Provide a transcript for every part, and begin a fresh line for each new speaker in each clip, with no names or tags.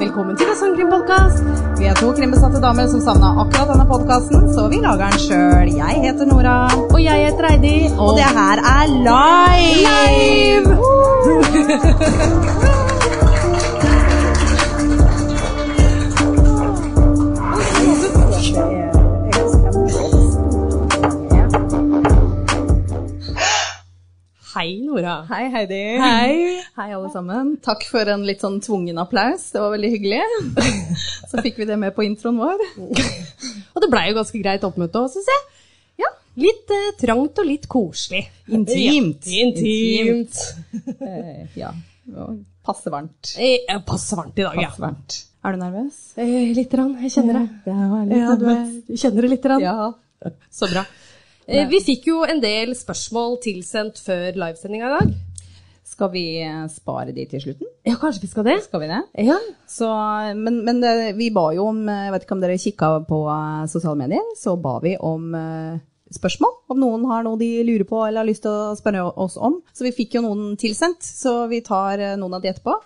Velkommen til en sånn krimpodkast. Vi er to krimbesatte damer som savna akkurat denne podkasten, så vi lager den sjøl. Jeg heter Nora,
Og jeg heter Eidi.
og det her er live!
Hei, Nora.
Hei, Heidi.
Hei.
Hei, alle sammen. Takk for en litt sånn tvungen applaus. Det var veldig hyggelig. Så fikk vi det med på introen vår.
Og det blei jo ganske greit oppmøte òg, syns jeg.
Ja.
Litt eh, trangt og litt koselig.
Intimt.
Ja, Intimt.
Eh, ja. Og passe varmt.
Eh, eh, Passe varmt i dag, ja.
Passe varmt. Er du nervøs?
Eh, Litt, rann, jeg kjenner det.
var
Ja, du, er- du kjenner det litt. Rann.
Ja.
Så bra. Eh, Vi fikk jo en del spørsmål tilsendt før livesendinga i dag.
Skal vi eh, spare de til slutten?
Ja, kanskje vi skal det?
Skal vi det?
Ja.
Så, men men det, vi ba jo om, eh, jeg vet ikke om dere kikka på eh, sosiale medier, så ba vi om eh, spørsmål. Om noen har noe de lurer på eller har lyst til å spørre oss om. Så vi fikk jo noen tilsendt, så vi tar eh, noen av de etterpå.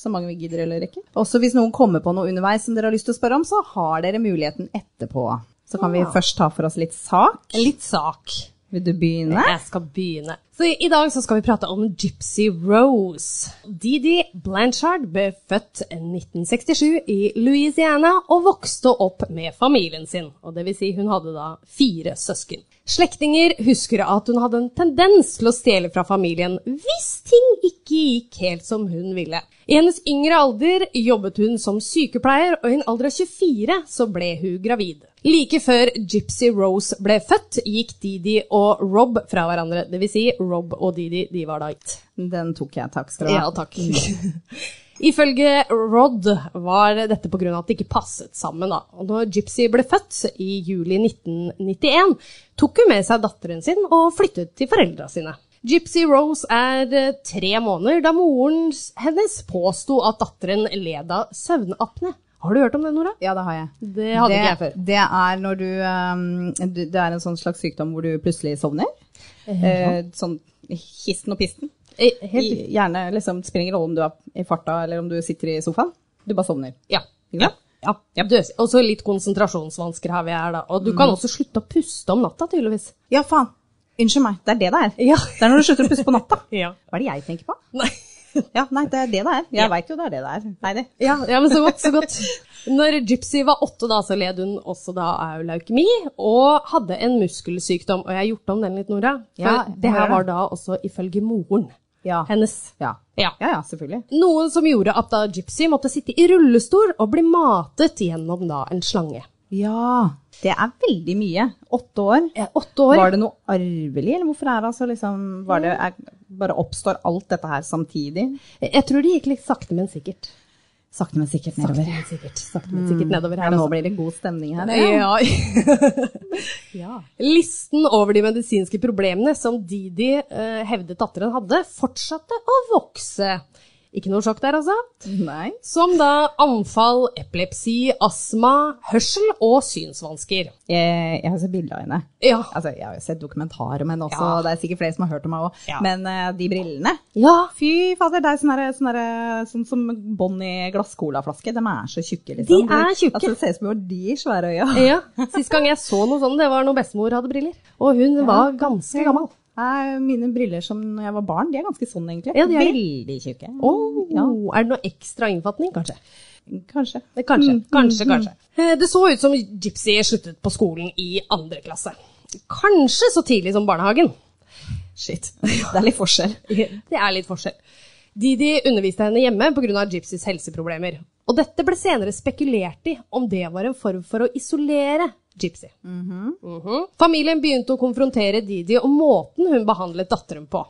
Så mange vi gidder eller rekker. Også hvis noen kommer på noe underveis som dere har lyst til å spørre om, så har dere muligheten etterpå. Så kan vi
Ja.
først ta for oss litt sak.
En litt sak.
Vil du begynne?
Jeg skal begynne. Så i, I dag så skal vi prate om Gypsy Rose. Didi Blanchard ble født 1967 i Louisiana og vokste opp med familien sin. Og det vil si hun hadde da fire søsken. Slektinger husker at hun hadde en tendens til å stjele fra familien hvis ting ikke gikk helt som hun ville. I hennes yngre alder jobbet hun som sykepleier, og i en alder av 24 så ble hun gravid. Like før Gypsy Rose ble født, gikk Didi og Rob fra hverandre. Det vil si, Rob og Didi, de var da gitt.
Den tok jeg, takk skal du ha.
Ja, takk. Ifølge Rod var dette pga. at det ikke passet sammen. Da. Og når Gypsy ble født i juli 1991, tok hun med seg datteren sin og flyttet til foreldra sine. Gypsy Rose er eh, tre måneder da moren s- hennes påsto at datteren led av søvnapne. Har du hørt om det, Nora?
Ja, det har jeg.
Det hadde ikke jeg før.
Det er når du ehm, du- Det er en sånn slags sykdom hvor du plutselig sovner. Eh, sånn histen og pisten.
Eh, Helt
I, gjerne liksom spiller ingen rolle om du er i farta eller om du sitter i sofaen. Du bare sovner.
Ja.
Ikke sant?
ja. Mm. Døs- Og så litt konsentrasjonsvansker har vi her, da. Og du kan også slutte å puste om natta, tydeligvis.
Ja, faen. Unnskyld meg. Det er det det er.
Ja.
Det er når du slutter å puste på natta.
Ja.
Hva er det jeg tenker på?
Nei.
Ja, nei, det er det det er. Jeg vet veit jo det er det det er. Nei, det.
Ja, ja, men så godt, så godt. Når Gypsy var åtte, da, så led hun også da av leukemi og hadde en muskelsykdom. Og jeg har gjort om den litt, Nora. For
Ja,
det her
hører.
var da også ifølge moren
Ja.
hennes.
Ja.
Ja.
ja, ja, selvfølgelig.
Noe som gjorde at da Gypsy måtte sitte i rullestol og bli matet gjennom da en slange.
Ja. Det er veldig mye. Åtte år.
Eh, Åtte år.
Var det noe arvelig, eller hvorfor er det altså liksom var det, er, Bare oppstår alt dette her samtidig?
Jeg tror det gikk litt sakte, men sikkert.
Sakte, men sikkert
Sakte,
nedover.
men sikkert. Sakte, men sikkert nedover
Ja,
her.
nå
altså.
blir det god stemning her.
ja. Listen over de medisinske problemene som Didi eh, hevdet datteren hadde, fortsatte å vokse. Ikke noe sjokk der, altså.
Nei.
Som da anfall, epilepsi, astma, hørsel og synsvansker.
Eh, Jeg, jeg har sett bilder av henne.
Ja.
Altså, jeg har jo sett dokumentar om henne også,
Ja.
og det er sikkert flere som har hørt om henne òg.
Ja.
Men eh, de brillene
ja.
Fy fader, det er sånn derre- sånn derre- sånn som bånd i glasscolaflaske. De er så tjukke, liksom.
De er tjukke. Eh.
Altså, det ser ut som du har de i svære øya.
ja. Sist gang jeg så noe sånt, det var når bestemor hadde briller. Og hun var ganske gammel.
Nei, Mine briller som når jeg var barn, de er ganske sånn, egentlig.
Ja, de er det.
Veldig tjukke.
Å, Oh. Er det noe ekstra innfatning, kanskje?
Kanskje.
Eh, Kanskje, kanskje, kanskje. Eh, Det så ut som Gypsy sluttet på skolen i andre klasse. Kanskje så tidlig som barnehagen.
Shit. Det er litt forskjell.
Det er litt forskjell. Didi underviste henne hjemme pga. Gypsys helseproblemer. Og dette ble senere spekulert i om det var en form for å isolere Gypsy. Mhm. Familien begynte å konfrontere Didi om måten hun behandlet datteren på,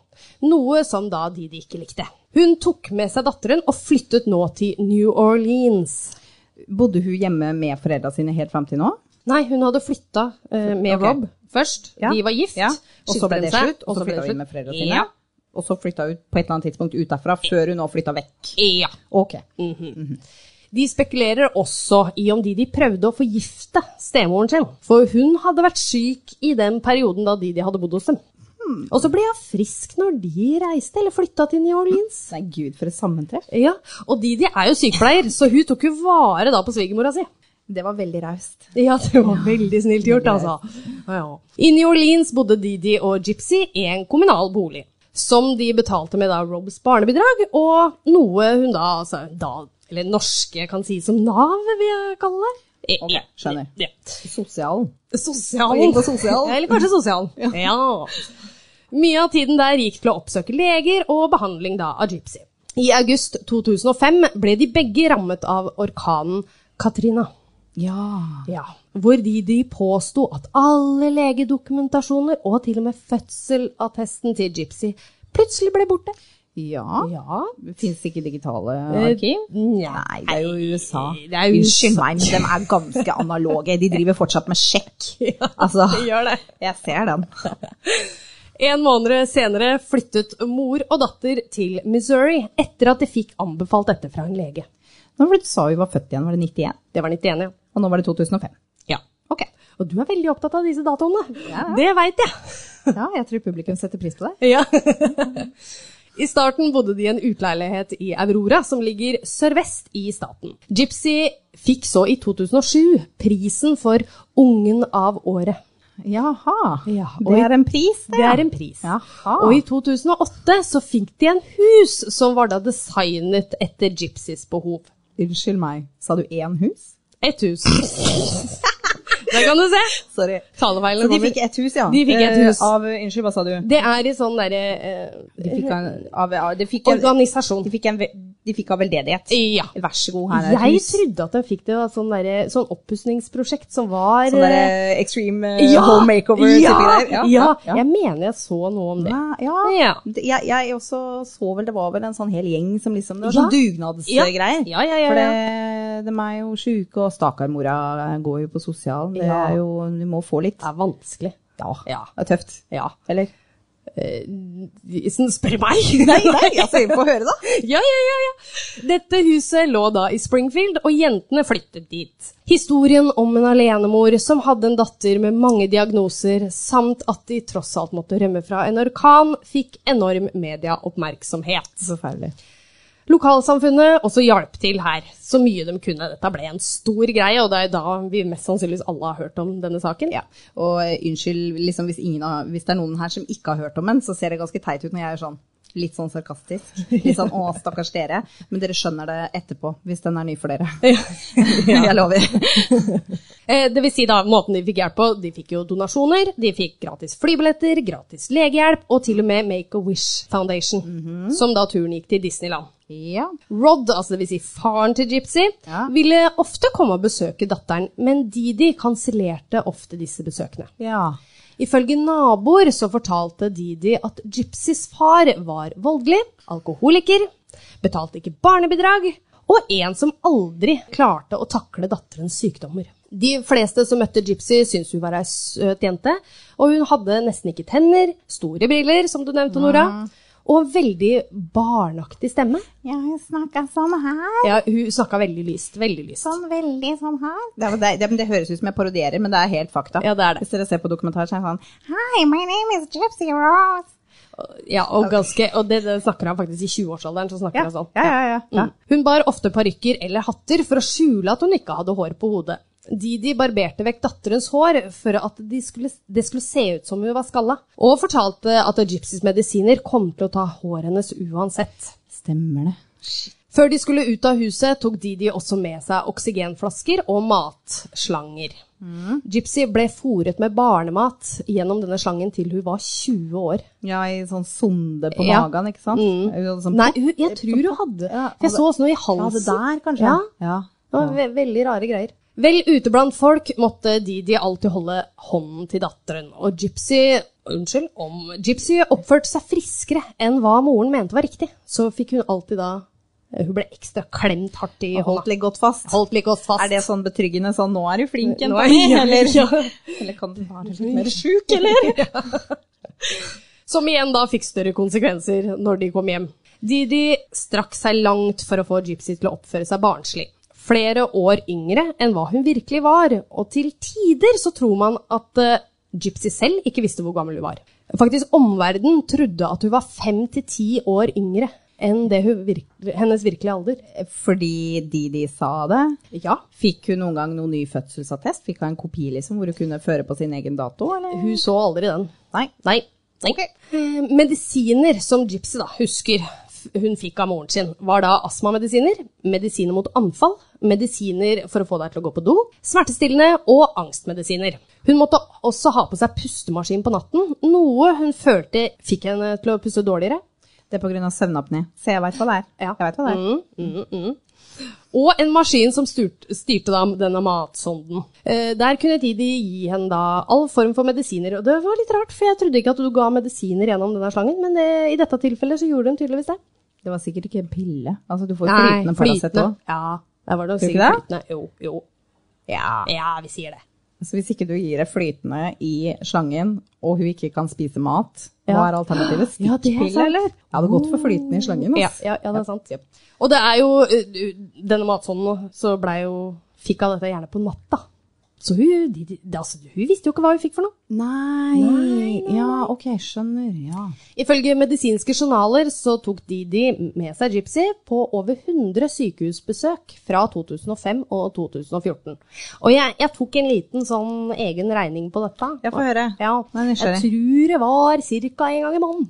noe som da Didi ikke likte. Hun tok med seg datteren og flyttet nå til New Orleans.
Bodde hun hjemme med foreldra sine helt fram til nå?
Nei, hun hadde flytta eh, med
Ok.
Rob først.
Ja.
De var gift.
Ja. Og så
skilte
ble
de
det
seg,
slutt, og så flytta hun inn med foreldra sine.
Ja.
Og så flytta hun på et eller annet tidspunkt ut derfra, før hun nå flytta vekk.
ja.
Ok.
De spekulerer også i om Didi prøvde å forgifte stemoren sin, for hun hadde vært syk i den perioden da Didi hadde bodd hos dem.
Hmm.
Og så ble hun frisk når de reiste eller flytta til New Orleans.
Nei, gud, for et sammentreff.
Ja, Og Didi er jo sykepleier, så hun tok jo vare da på svigermora si.
Det var veldig raust.
Ja, det var veldig snilt gjort, altså. Ja. I New Orleans bodde Didi og Gypsy i en kommunal bolig, som de betalte med da Robs barnebidrag, og noe hun da, altså, da eller norske kan si som Nav, vil jeg kalle det. Eh,
Ok,
ja,
skjønner.
Ja.
Sosialen.
Sosialen.
Og gikk på sosialen.
Eller kanskje sosialen. Ja. Mye av tiden der gikk til å oppsøke leger og behandling da av Gypsy. I august 2005 ble de begge rammet av orkanen Katrina.
Ja.
Ja, hvor de, de påsto at alle legedokumentasjoner og til og med fødselattesten til Gypsy plutselig ble borte.
Ja.
Ja.
Fins ikke digitale
Arkiv?
arkiv? Nei, det er jo USA.
Det er jo
Unnskyld meg, men de er ganske analoge. De driver fortsatt med sjekk. Altså,
gjør det.
jeg ser den.
En måned senere flyttet mor og datter til Missouri etter at de fikk anbefalt dette fra en lege.
Nå var det du sa vi var født igjen, var det 91?
Det var 91, ja.
Og nå var det 2005.
ja. Ok. Og du er veldig opptatt av disse datoene.
Ja.
Det veit jeg.
Ja, jeg tror publikum setter pris på det.
Ja. I starten bodde de i en utleilighet i Aurora, som ligger sørvest i staten. Gypsy fikk så i 2007 prisen for Ungen av året.
Jaha.
Ja, og
det
i-
er en pris, det.
Det er en pris.
Jaha.
Og i 2008 så fikk de en hus som var da designet etter Gypsys behov.
Unnskyld meg, sa du én hus?
Et hus. Der kan du se.
Sorry.
Talefeilen
Så de
kommer.
fikk ett hus, ja?
De fikk ett
Eh,
hus.
Av, unnskyld, hva sa du?
Det er i sånn derre eh,
De fikk av, av, av, de fikk en,
Organisasjon.
de fikk en, ve- de fikk av veldedighet.
Ja.
Vær så god, her er et
Jeg
hus.
trodde at de fikk det av sånn, derre- sånn oppussingsprosjekt som var
Sånn der
eh,
eh, extreme eh, home makeover
ja,
type greier.
ja,
ja.
Jeg mener jeg så noe om det.
Ja, ja.
Ja.
Det- Jeg, jeg også så vel det var vel en sånn hel gjeng som liksom Det var
Ja.
sånn dugnadsgreier.
Ja, ja, ja,
For
ja.
det, de er jo sjuke, og stakkarmora går jo på sosialen. Det
Ja.
er jo Du må få litt.
Det er vanskelig.
Ja.
Ja.
Det er tøft.
ja.
Eller?
Eh, sånn, Spør meg!
Nei, nei, altså, vi får høre, da.
Ja, ja, ja, ja. Dette huset lå da i Springfield, og jentene flyttet dit. Historien om en alenemor som hadde en datter med mange diagnoser, samt at de tross alt måtte rømme fra en orkan, fikk enorm medieoppmerksomhet.
Forferdelig.
Lokalsamfunnet også hjalp til her, så mye de kunne. Dette ble en stor greie, og det er da vi mest sannsynligvis alle har hørt om denne saken.
Ja. Og eh, unnskyld liksom, hvis, ingen har, hvis det er noen her som ikke har hørt om den, så ser det ganske teit ut når jeg er sånn. Litt sånn sarkastisk. Litt sånn 'å, stakkars dere'. Men dere skjønner det etterpå, hvis den er ny for dere. Jeg lover.
Eh, Det vil si da, måten de fikk hjelp på, de fikk jo donasjoner, de fikk gratis flybilletter, gratis legehjelp, og til og med Make-A-Wish Foundation,
Mhm.
som da turen gikk til Disneyland.
Ja.
Rod, altså det vil si faren til Gypsy,
Ja.
ville ofte komme og besøke datteren, men Didi kansellerte ofte disse besøkene.
ja.
Ifølge naboer så fortalte Didi at Gypsys far var voldelig, alkoholiker, betalte ikke barnebidrag, og en som aldri klarte å takle datterens sykdommer. De fleste som møtte Gypsy, syntes hun var ei søt jente, og hun hadde nesten ikke tenner, store briller, som du nevnte, Nora, og en veldig barnaktig stemme.
Ja, hun snakka sånn her.
Ja, hun snakka veldig lyst, veldig lyst.
Sånn veldig sånn her. Det, er- det, er- men det høres ut som jeg parodierer, men det er helt fakta.
Ja, det er det.
Hvis dere ser på dokumentar, så er det sånn Hi, my name is Gypsy Rose.
Ja, og ganske, og det, det snakker han faktisk i 20-årsalderen, så snakker han sånn.
ja, ja. ja, ja.
Mm. Hun bar ofte parykker eller hatter for å skjule at hun ikke hadde hår på hodet. Didi barberte vekk datterens hår for at de skulle, det skulle se ut som hun var skalla, og fortalte at Gypsys medisiner kom til å ta håret hennes uansett.
Stemmer det.
Før de skulle ut av huset, tok Didi også med seg oksygenflasker og matslanger.
Mm.
Gypsy ble fòret med barnemat gjennom denne slangen til hun var 20 år.
Ja, i sånn sonde på
Ja.
magen, ikke sant? Mm. Sånn,
Nei, hun- jeg tror hun hadde
Ja,
For jeg så også noe i halsen.
Ja, det der, kanskje?
Ja.
altså. ja.
Det var ve veldig rare greier. Vel ute blant folk måtte Didi alltid holde hånden til datteren, og Gypsy Unnskyld, om Gypsy oppførte seg friskere enn hva moren mente var riktig, så fikk hun alltid da Hun ble ekstra klemt hardt i
Holdt
hånda.
litt godt fast.
Holdt like godt fast.
Er det sånn betryggende sånn 'nå er du flink,
Nå
jenta
er
mi',
jeg-
eller,
Ja.
eller kan du være litt mer sjuk, eller?
Som igjen da fikk større konsekvenser når de kom hjem. Didi strakk seg langt for å få Gypsy til å oppføre seg barnslig. flere år yngre enn hva hun virkelig var, og til tider så tror man at eh, Gypsy selv ikke visste hvor gammel hun var. Faktisk omverdenen trodde at hun var fem til ti år yngre enn det hun virk- hennes virkelige alder.
Fordi de de sa det.
Ja,
Fikk hun noen gang noen ny fødselsattest? Fikk hun en kopi liksom, hvor hun kunne føre på sin egen dato? Eller?
hun så aldri den.
Nei.
Nei. nei. Eh, Medisiner som Gypsy da husker f- hun fikk av moren sin, var da astmamedisiner, medisiner mot anfall, medisiner for å få deg til å gå på do, smertestillende og angstmedisiner. Hun måtte også ha på seg pustemaskin på natten, noe hun følte fikk henne til å puste dårligere.
Det er pga. søvnapné. Så jeg veit hva det er.
Ja. Mm,
Jeg vet hva det er.
Og en maskin som styrt, styrte da denne matsonden. Eh, der kunne de de gi henne da all form for medisiner, og det var litt rart, for jeg trodde ikke at du ga medisiner gjennom denne slangen, men eh, i dette tilfellet så gjorde de tydeligvis det.
Det var sikkert ikke en pille. Altså, du får jo flytende Paracet òg.
Ja, der var det
Tror du
sikkert
ikke
flytende. Jo, jo.
Ja.
Ja, vi sier det.
Så hvis ikke du gir deg flytende i slangen, og hun ikke kan spise mat, hva
Ja.
er alternativet?
Ja, det er
Stikkpille,
sant.
eller? Jeg hadde gått for flytende i slangen.
Ja,
ass.
ja, ja, det er sant. Og det er jo eh, Denne matsonden så blei jo Fikk av dette gjerne på natta. Så hun, de, de, altså, hun visste jo ikke hva hun fikk for noe.
Nei. Ja, ok, skjønner. Ja.
Ifølge medisinske journaler så tok Didi med seg Gypsy på over 100 sykehusbesøk fra 2005 og 2014. Og jeg, jeg tok en liten sånn egen regning på dette.
Jeg får høre.
Ja,
Nå er jeg
jeg
nysgjerrig.
tror det var ca. en gang i måneden.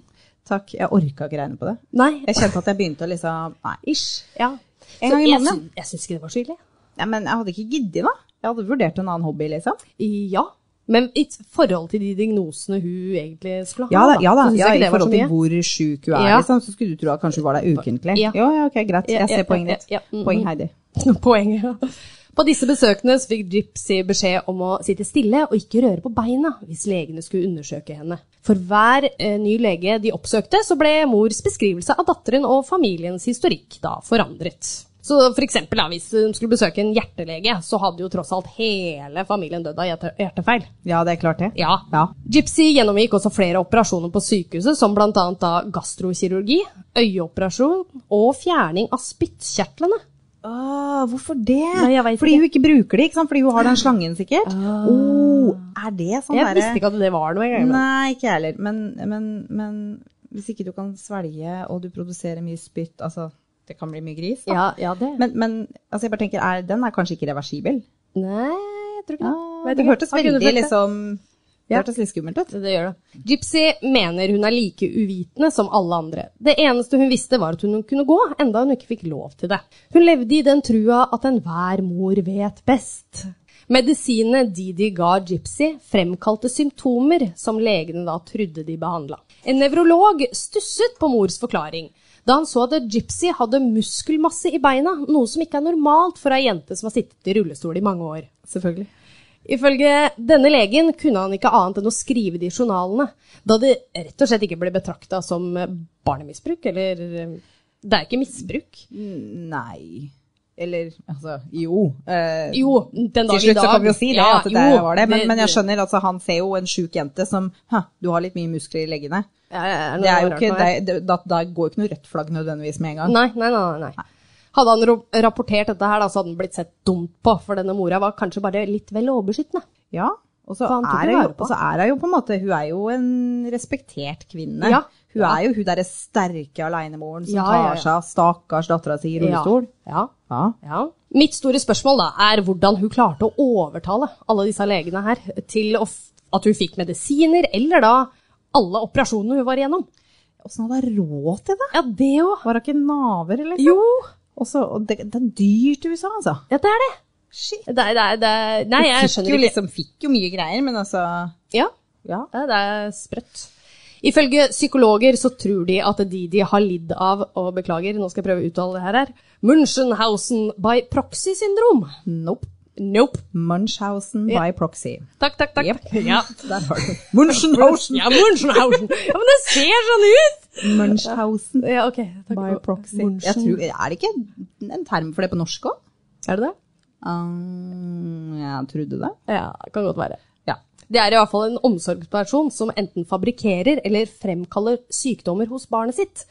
Takk. Jeg orka ikke regne på det.
Nei,
Jeg kjente at jeg begynte å liksom Nei.
ish. Ja.
En
Så
gang i
jeg
måneden,
sy- Jeg syns ikke det var så ille.
Nei, men jeg hadde ikke giddet, da. Jeg hadde vurdert en annen hobby, liksom.
Ja. Men i forhold til de diagnosene hun egentlig skulle ha,
Ja da, ja da.
Ah, så syns
Ja,
jeg
I
ikke det var
forhold
så
til
mye.
hvor sjuk hun er,
Ja.
liksom, så skulle du tro at kanskje hun var der ukentlig.
Ja.
Jo, ja, ok, greit.
Ja,
Jeg
ja,
ser
ja,
poenget
ja,
ditt.
Mm, ja.
Poeng, Heidi.
Poenget. ja. På disse besøkene så fikk Gypsy beskjed om å sitte stille og ikke røre på beina hvis legene skulle undersøke henne. For hver eh, ny lege de oppsøkte, så ble mors beskrivelse av datteren og familiens historikk da forandret. Så for eksempel, da, hvis hun skulle besøke en hjertelege, så hadde jo tross alt hele familien dødd av hjerte- hjertefeil.
Ja, det er klart det.
Ja.
Ja.
Gypsy gjennomgikk også flere operasjoner på sykehuset, som bl.a. da gastrokirurgi, øyeoperasjon og fjerning av spyttkjertlene.
Åh, Ah, hvorfor det?
Nei, jeg vet
Fordi
ikke. Ah.
hun ikke bruker det, ikke sant? Fordi hun har den slangen sikkert. Oh, er det sånn
Jeg
derre-
visste ikke at det var noe engang. men-
Nei, ikke jeg heller. Men, men, men hvis ikke du kan svelge, og du produserer mye spytt, altså det kan bli mye gris, da.
Ja, ja, det.
Men, men altså, jeg bare tenker, er, den er kanskje ikke reversibel?
Nei, jeg tror ikke
Ah,
Vet
det
ikke.
hørtes
Har ikke du
veldig
tenkt det?
liksom Det
Ja.
hørtes litt skummelt ut.
Det gjør det. Gypsy mener hun er like uvitende som alle andre. Det eneste hun visste var at hun kunne gå, enda hun ikke fikk lov til det. Hun levde i den trua at enhver mor vet best. Medisinene Didi ga Gypsy, fremkalte symptomer som legene da trodde de behandla. En nevrolog stusset på mors forklaring da han så at Gypsy hadde muskelmasse i beina, noe som ikke er normalt for ei jente som har sittet i rullestol i mange år.
Selvfølgelig.
Ifølge denne legen kunne han ikke annet enn å skrive det i journalene, da det rett og slett ikke ble betrakta som barnemisbruk, eller eh, Det er ikke misbruk.
Nei. Eller altså, jo. Eh,
Jo, den dag
Til
i
slutt
dag.
så kan vi jo si det,
Ja,
at det
jo,
var det. Men,
det-
men jeg skjønner, altså, han ser jo en sjuk jente som Hæ, du har litt mye muskler i leggene.
Ja, ja, ja,
Det er jo
noe
ikke,
rart med
det,
det.
det, da, da går jo ikke noe rødt flagg nødvendigvis med en gang.
Nei, nei, nei. nei. Hadde han ro- rapportert dette her, da, så hadde han blitt sett dumt på, for denne mora var kanskje bare litt vel overbeskyttende.
Ja, og så
For han tok
er
jo
hun
vare
jo-
på.
og så er hun jo på en måte Hun er jo en respektert kvinne.
Ja.
Hun er jo hun derre sterke alenemoren som
Ja, ja, ja.
tar seg av stakkars dattera si i rullestol. Ja.
Ja. Ja. ja. Mitt store spørsmål da er hvordan hun klarte å overtale alle disse legene her til å f at hun fikk medisiner, eller da alle operasjonene hun var igjennom.
Åssen hadde hun råd til det?
Ja, det òg.
Var hun ikke naver, eller?
Jo,
Og så- og det, det er dyrt i USA, altså.
ja, det er det.
Shit.
det, er, det, er, det er, nei,
fikk
jeg
jo
skjønner ikke.
liksom fikk jo mye greier, men altså
Ja,
Ja.
det er, det er sprøtt. Ifølge psykologer så tror de at Didi har lidd av, og beklager, nå skal jeg prøve å uttale det her, her. Munchenhausen by proxy-syndrom.
Nope.
Nope.
Munchhausen by proxy.
Takk, takk, takk. Ja.
Der har du Munchhausen!
ja, Munchhausen. Ja, men det ser sånn ut!
Munchhausen
Ja, ok. Takk.
by proxy.
Munchen.
Jeg tror, er det ikke en term for det på norsk òg?
Er det det?
Um, jeg trodde det.
Ja, det kan godt være.
Ja.
Det er i hvert fall en omsorgsperson som enten fabrikkerer eller fremkaller sykdommer hos barnet sitt.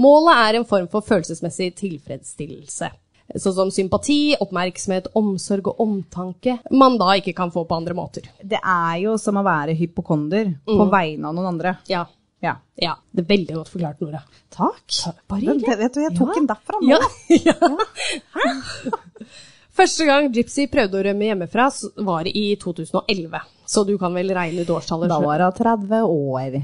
Målet er en form for følelsesmessig tilfredsstillelse. sånn som sympati, oppmerksomhet, omsorg og omtanke man da ikke kan få på andre måter.
Det er jo som å være hypokonder
Mm.
på vegne av noen andre.
Ja.
Ja.
ja. Det er veldig godt forklart, Nora.
Takk.
Bare
Den,
hyggelig.
det, vet du, jeg tok
Ja.
den derfra nå.
Ja. ja. Første gang Gypsy prøvde å rømme hjemmefra, s- var i 2011. Så du kan vel regne ut årstallet?
Da
selv.
var hun 30 år.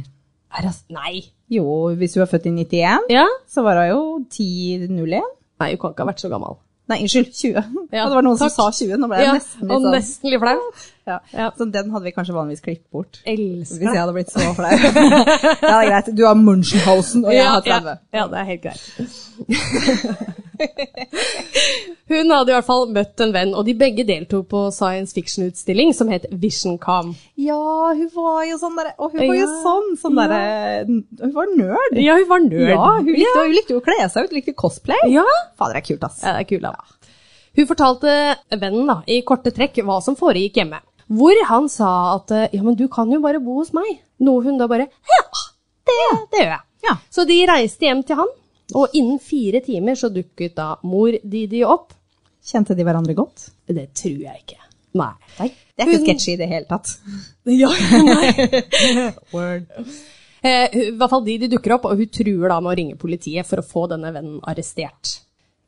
Er det s- Nei.
Jo, hvis hun er født i 91,
Ja?
så var hun jo 1001.
Nei, hun kan ikke ha vært så gammel.
Nei, unnskyld, 20.
Ja,
det var noen
takk.
som sa 20, nå ble jeg
Ja,
nesten litt
og
sånn.
nesten litt flau.
Ja.
Ja.
Så den hadde vi kanskje vanligvis klippet bort. Hvis
Elsker
jeg
deg.
hadde blitt så flau. ja, det er greit. Du har Munchenhausen, og jeg har
ja,
30.
ja, det er helt greit. Hun hadde i hvert fall møtt en venn, og de begge deltok på science fiction-utstilling som het VisionCom.
Ja, hun var jo sånn derre Og hun var jo
Ja.
sånn, sånn derre Hun var nerd.
Ja, hun var nerd.
Ja, hun likte, hun likte jo å kle seg ut, likte cosplay.
Ja,
Fader, det er kult, ass.
Ja, det er kul, da. Hun fortalte vennen da, i korte trekk hva som foregikk hjemme. Hvor han sa at eh, ja, men du kan jo bare bo hos meg. Noe hun da bare ja, det, det gjør jeg.
Ja.
Så de reiste hjem til han, og innen fire timer så dukket da mor Didi opp.
Kjente de hverandre godt?
Det tror jeg ikke. Nei.
Det er ikke
Hun-
sketsjy i det hele tatt.
Ja, nei.
Word.
Eh, hun- I hvert fall de de dukker opp, og hun truer da med å ringe politiet for å få denne vennen arrestert.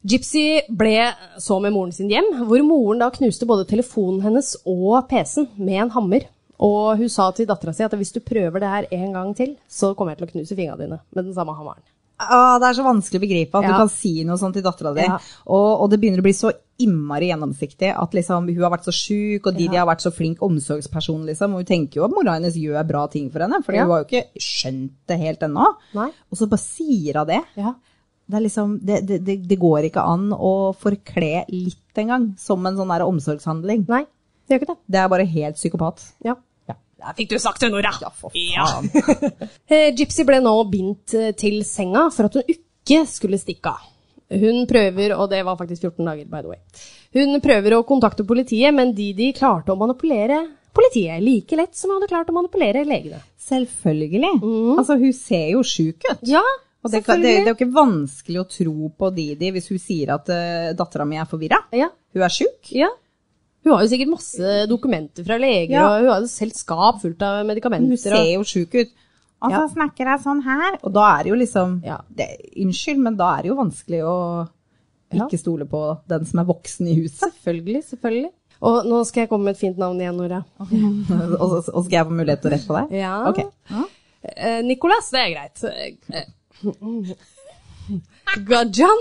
Gypsy ble så med moren sin hjem, hvor moren da knuste både telefonen hennes og PC-en med en hammer. Og hun sa til dattera si at hvis du prøver det her en gang til, så kommer jeg til å knuse fingra dine med den samme hammeren.
Ah, det er så vanskelig å begripe at
Ja.
du kan si noe sånt til dattera di.
Ja.
Og, og det begynner å bli så innmari gjennomsiktig at liksom, hun har vært så sjuk, og Didi har vært så flink omsorgsperson, liksom. Og hun tenker jo at mora hennes gjør bra ting for henne, for
Ja.
hun har jo ikke skjønt det helt ennå.
Nei.
Og så bare sier hun det.
Ja.
Det, er liksom, det, det, det, det går ikke an å forkle litt engang som en sånn der omsorgshandling.
Nei, det gjør ikke det.
Det er bare helt psykopat.
Ja.
Ja.
Der fikk du sagt det, Nora! Ja, for
faen.
Eh, Gypsy ble nå bindt eh, til senga for at hun ikke skulle stikke av. Hun prøver, og det var faktisk 14 dager, by the way. Hun prøver å kontakte politiet, men Didi klarte å manipulere politiet like lett som hun hadde klart å manipulere legene.
Selvfølgelig.
Mm.
Altså, hun ser jo sjuk ut.
Ja,
Og det, kan, det, det er jo ikke vanskelig å tro på Didi hvis hun sier at uh, dattera mi er forvirra.
Ja,
Hun er sjuk.
ja. Hun har jo sikkert masse dokumenter fra leger,
Ja.
og hun har jo selv skap fullt av
Hun
medikamenter.
ser
Og,
jo sjuk ut. Og så
Ja.
snakker jeg sånn her. Og da er det jo liksom
Ja.
det, Unnskyld, men da er det jo vanskelig å
Ja.
ikke stole på den som er voksen i huset.
selvfølgelig, selvfølgelig. Og nå skal jeg komme med et fint navn igjen, Nora.
og, og, og skal jeg få mulighet til å rette på deg?
Ja.
Ok.
Eh, Nicolas, det er greit. Eh, Gajan.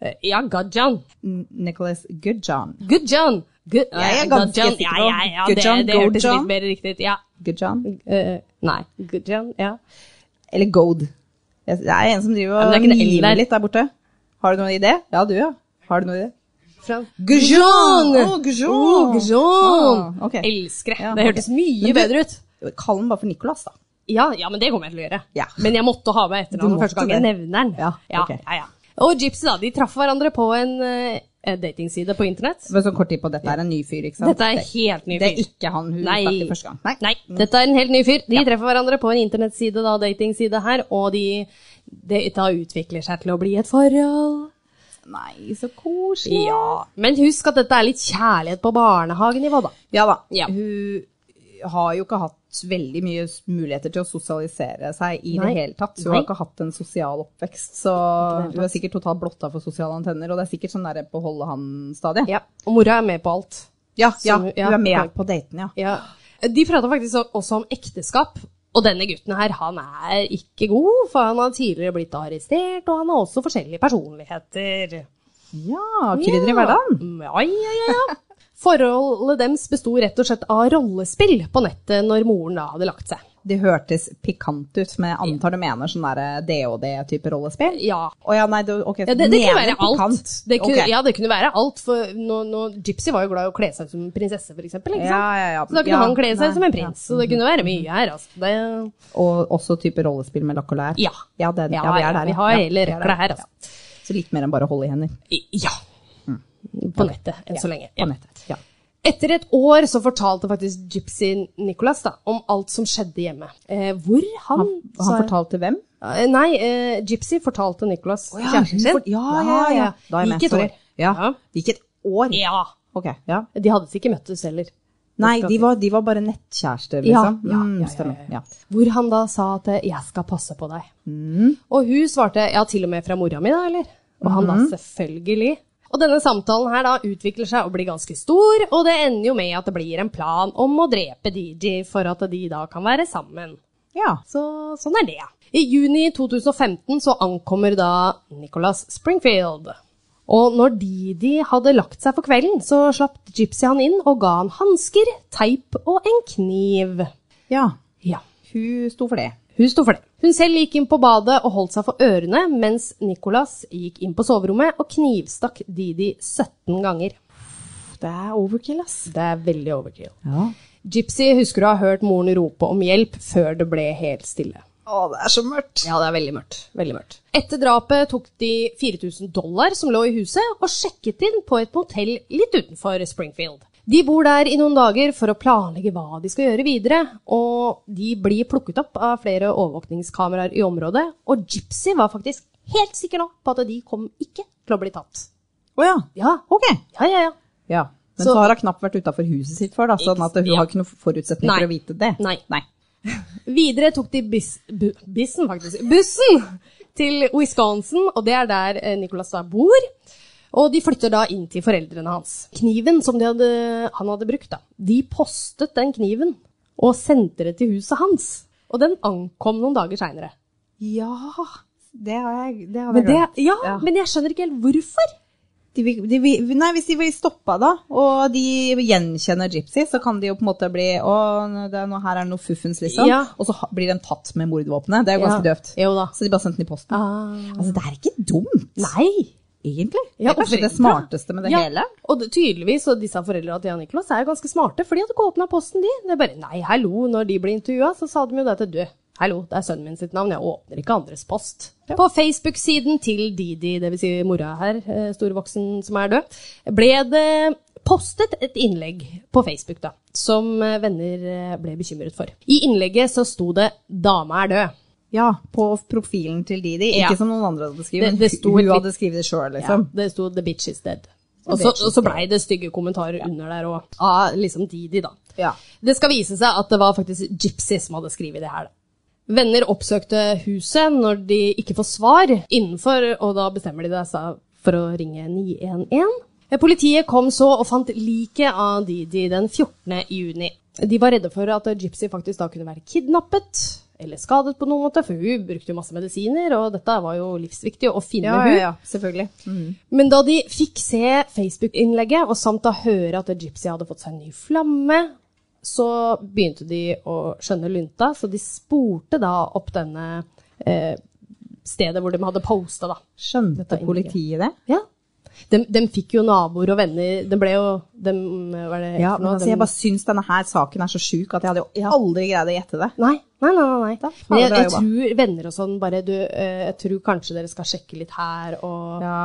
Eh, ja, Gajan.
N- Nicholas Goodjohn.
Goodjan. Good,
Jeg er ganske
Gajan.
sikker
Ja,
på
ja, ja,
Gudjan,
det, det hørtes
Gordjan.
litt mer riktig ut. Ja.
Goodjohn?
Eh, nei. Goodjan, ja.
Eller Goad. Jeg- Det er en som driver
Ja, men
og
det er ikke det L der.
niver litt der borte. Har du noen idé? Ja, du, ja. Har du noen idé?
Fra-
Gudjan!
Gudjan!
Å, Gudjan!
Å, Gudjan!
Ah, ok.
Elsker det.
Ja,
Det
ok.
hørtes mye
Men du-
bedre ut.
Kall den bare for Nicholas, da.
Ja, ja, men det kommer jeg til å gjøre.
Ja.
Men jeg måtte ha med etternavnet
Du
første gang
måtte
jeg
det.
nevner den.
Ja,
ja,
ok.
ja, ja. Og Gypsy, da. De traff hverandre på en eh, datingside på internett.
Men sånn kort tid på, dette er en ny fyr, ikke sant?
Dette er helt ny fyr.
Det er ikke han hun
Nei.
snakket første gang. Mm.
Nei, dette er en helt ny fyr. De treffer hverandre på en internettside, da, datingside her, og de, det da utvikler seg til å bli et forhold.
Nei, så koselig.
Ja. Men husk at dette er litt kjærlighet på barnehagenivå, da.
Ja da.
Ja.
Hun har jo ikke hatt veldig mye s- muligheter til å sosialisere seg i
Nei.
det hele tatt. Hun
Nei.
har ikke hatt en sosial oppvekst, så
det hele
hun er sikkert totalt blotta for sosiale antenner, og det er sikkert sånn der på holde han-stadiet.
Ja. Og mora er med på alt.
Ja,
Så
ja,
hun-
hun
ja,
er med
ok.
på daten, ja.
Ja. De prata faktisk o- også om ekteskap. Og denne gutten her, han er ikke god, for han har tidligere blitt arrestert, og han har også forskjellige personligheter.
Ja, krydder i hverdagen.
Mm, Ja, ja, ja, ja. Forholdet deres besto rett og slett av rollespill på nettet når moren da hadde lagt seg.
Det hørtes pikant ut, men jeg antar du mener sånn der DOD-type rollespill?
Ja.
Å ja, nei, du, ok.
Ja, det, det kunne
mener
være alt.
pikant.
Det kunne,
Ok.
Ja, det kunne være alt. For nå, nå, Gypsy var jo glad i å kle seg ut som prinsesse, for eksempel. Ikke sant?
Ja, ja, ja.
Så da kunne
Ja,
han kle seg
nei,
ut som en prins. Så det kunne være mye her, altså. Det,
Og også type rollespill med lakk og lær?
Ja.
Ja, det, ja, vi er der.
Vi har
ja.
hele
vi er
røkla
der.
her, altså.
Så litt mer enn bare å holde i hender.
I- Ja. På nettet, enn så lenge.
På nettet. Mm. Ja.
Etter et år så fortalte faktisk Gypsy Nicholas da, om alt som skjedde hjemme. Eh, hvor han,
Han, han fortalte hvem?
Eh, Nei, eh, Gypsy fortalte Nicholas
Å ja,
kjæresten sin.
hun fort- ja, ja, ja. Da er jeg
Gikk
med,
et
sorry.
år.
Ja.
Ja.
Det gikk et år?
ja.
Ok, ja.
De hadde ikke møttes heller.
Nei, de var, de var bare nettkjærester, liksom.
Ja, ja,
Mm,
ja, ja,
stemmer.
ja, ja. Hvor han da sa at eh, 'jeg skal passe på deg'.
Mm.
Og hun svarte 'ja, til og med fra mora mi', da, eller? Og han da
Mm.
selvfølgelig. Og denne samtalen her da utvikler seg og blir ganske stor, og det ender jo med at det blir en plan om å drepe DJ for at de da kan være sammen.
Ja.
Så sånn er det. I juni 2015 så ankommer da Nicholas Springfield. Og når Didi hadde lagt seg for kvelden, så slapp Gypsy han inn og ga han hansker, teip og en kniv.
ja.
Ja,
Hun sto for det.
hun sto for det. Hun selv gikk inn på badet og holdt seg for ørene, mens Nicholas gikk inn på soverommet og knivstakk Didi 17 ganger.
Det er overkill, ass.
Det er veldig overkill.
Ja.
Gypsy husker å ha hørt moren rope om hjelp før det ble helt stille.
Å, det er så mørkt.
Ja, det er veldig mørkt. Veldig mørkt. Etter drapet tok de 4000 dollar som lå i huset, og sjekket inn på et motell litt utenfor Springfield. De bor der i noen dager for å planlegge hva de skal gjøre videre, og de blir plukket opp av flere overvåkningskameraer i området, og Gypsy var faktisk helt sikker nå på at de kom ikke til å bli tatt.
Å ja.
Ja,
Ok.
ja, ja. ja.
Ja. Men
Så-
så, har hun knapt vært utafor huset sitt før, da, sånn at hun
Ja.
har ikke noen forutsetning
Nei.
for å vite det.
Nei. Videre tok de bis, bu, bissen, faktisk, bussen til Wisconsin, og det er der eh, Nicholas da bor. Og de flytter da inn til foreldrene hans. Kniven som de hadde, han hadde brukt, da, de postet den kniven og sendte det til huset hans. Og den ankom noen dager seinere.
Ja, det har jeg, det har jeg
Men, det-
glemt.
ja,
Ja.
men jeg skjønner ikke helt hvorfor.
De, vil- de, vil- nei, hvis de blir stoppa da, og de gjenkjenner Gypsy, så kan de jo på en måte bli Å, det er noe, her er det noe fuffens, liksom.
Ja.
Og så ha- blir de tatt med mordvåpenet. Det er jo ganske
Ja.
døvt.
Jo da.
Så de bare sendte den i posten.
Ah.
Altså, det er ikke dumt,
Nei.
egentlig.
Ja,
det er kanskje
og
det smarteste med det
Ja,
hele.
Og det, tydeligvis, og disse foreldra til Jan Nicholas er jo ganske smarte, for de hadde ikke åpna posten, de. Det er bare nei, hallo, når de ble intervjua, så sa de jo det til du. Hallo, det er sønnen min sitt navn, jeg åpner ikke andres post. På Facebook-siden til Didi, dvs. Si mora her, eh, storvoksen som er død, ble det postet et innlegg på Facebook da, som eh, venner eh, ble bekymret for. I innlegget så sto det 'Dame er død'.
Ja, på profilen til Didi.
Ja.
Ikke som noen andre hadde skrevet,
Det-
men
det sto
hun
et litt-
hadde skrevet det sjøl,
Ja,
liksom.
det sto 'The bitch is dead'.
The
Og så,
bitch is
og så blei det stygge kommentarer under der òg, av liksom Didi, da.
Ja.
Det skal vise seg at det var faktisk Gypsy som hadde skrevet det her. da. Venner oppsøkte huset når de ikke får svar innenfor, og da bestemmer de seg for å ringe 911. Eh, Politiet kom så og fant liket av Didi den 14. juni. De var redde for at Gypsy faktisk da kunne være kidnappet eller skadet på noen måte, for hun brukte jo masse medisiner, og dette var jo livsviktig å finne
Ja,
hun.
ja, ja, selvfølgelig. Mm.
Men da de fikk se Facebook-innlegget, og samt da høre at Gypsy hadde fått seg en ny flamme, så begynte de å skjønne lunta, så de spurte da opp denne eh, stedet hvor de hadde posta, da.
Skjønte
innlegget.
politiet det?
Ja. De, de fikk jo naboer og venner. De ble jo de, Hva er det
Ja,
for
men
noe?
altså,
De-
jeg bare syns denne her saken er så sjuk at jeg hadde jo aldri greid å gjette det.
Nei, nei, nei. nei, nei.
faen,
Men jeg,
bra
jeg
jobba.
tror venner og sånn bare du, eh, Jeg tror kanskje dere skal sjekke litt her og
Ja.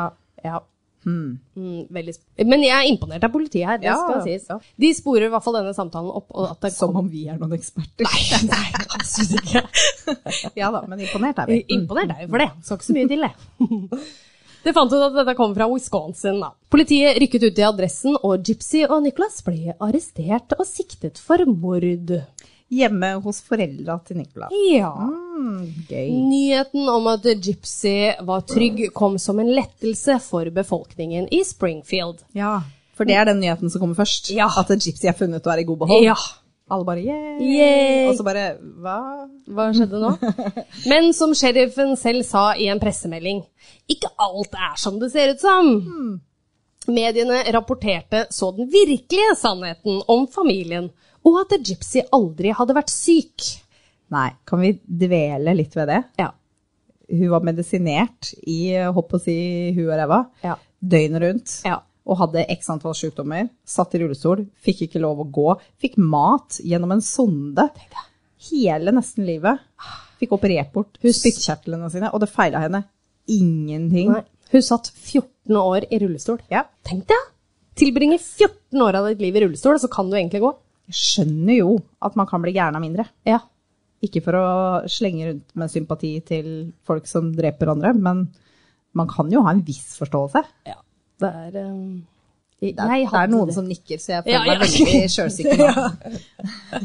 Hmm.
Ja. Mm, veldig sp Men jeg er imponert av politiet her, det
Ja,
skal sies. De sporer i hvert fall denne samtalen opp. Og at det
Som om vi er noen eksperter.
kom... Nei, absolutt ikke.
Ja da, men imponert er vi. Mm.
Imponert er jo for det. Skal ikke så mye til, det. Det fant ut at dette kom fra Wisconsin. da. Politiet rykket ut i adressen, og Gypsy og Nicholas ble arrestert og siktet for mord.
Hjemme hos foreldra til Nicolas.
Ja.
Gøy.
Nyheten om at Gypsy var trygg, kom som en lettelse for befolkningen i Springfield.
Ja. For det er den nyheten som kommer først.
Ja.
At Gypsy er funnet å være i god behold.
Ja.
Alle bare yeah.
Yay.
Og så bare hva?
Hva skjedde nå? Men som sheriffen selv sa i en pressemelding, ikke alt er som det ser ut som.
Hmm.
Mediene rapporterte så den virkelige sannheten om familien, og at Gypsy aldri hadde vært syk.
Nei, kan vi dvele litt ved det?
Ja.
Hun var medisinert i hopp og si hu og ræva
Ja.
døgnet rundt.
Ja.
Og hadde x antall sykdommer. Satt i rullestol. Fikk ikke lov å gå. Fikk mat gjennom en sonde. Hele nesten livet. Fikk operert bort
Hun-
spyttkjertlene sine, og det feila henne ingenting.
Nei. Hun satt 14 år i rullestol.
Ja.
Tenk deg! Tilbringe 14 år av ditt liv i rullestol, så kan du egentlig gå.
Jeg skjønner jo at man kan bli gæren av mindre.
Ja.
Ikke for å slenge rundt med sympati til folk som dreper andre, men man kan jo ha en viss forståelse.
ja. Det er um, jeg,
Det er,
jeg
det er
hadde
noen
det.
som nikker, så jeg
Ja,
føler meg
ja.
veldig sjølsikker nå.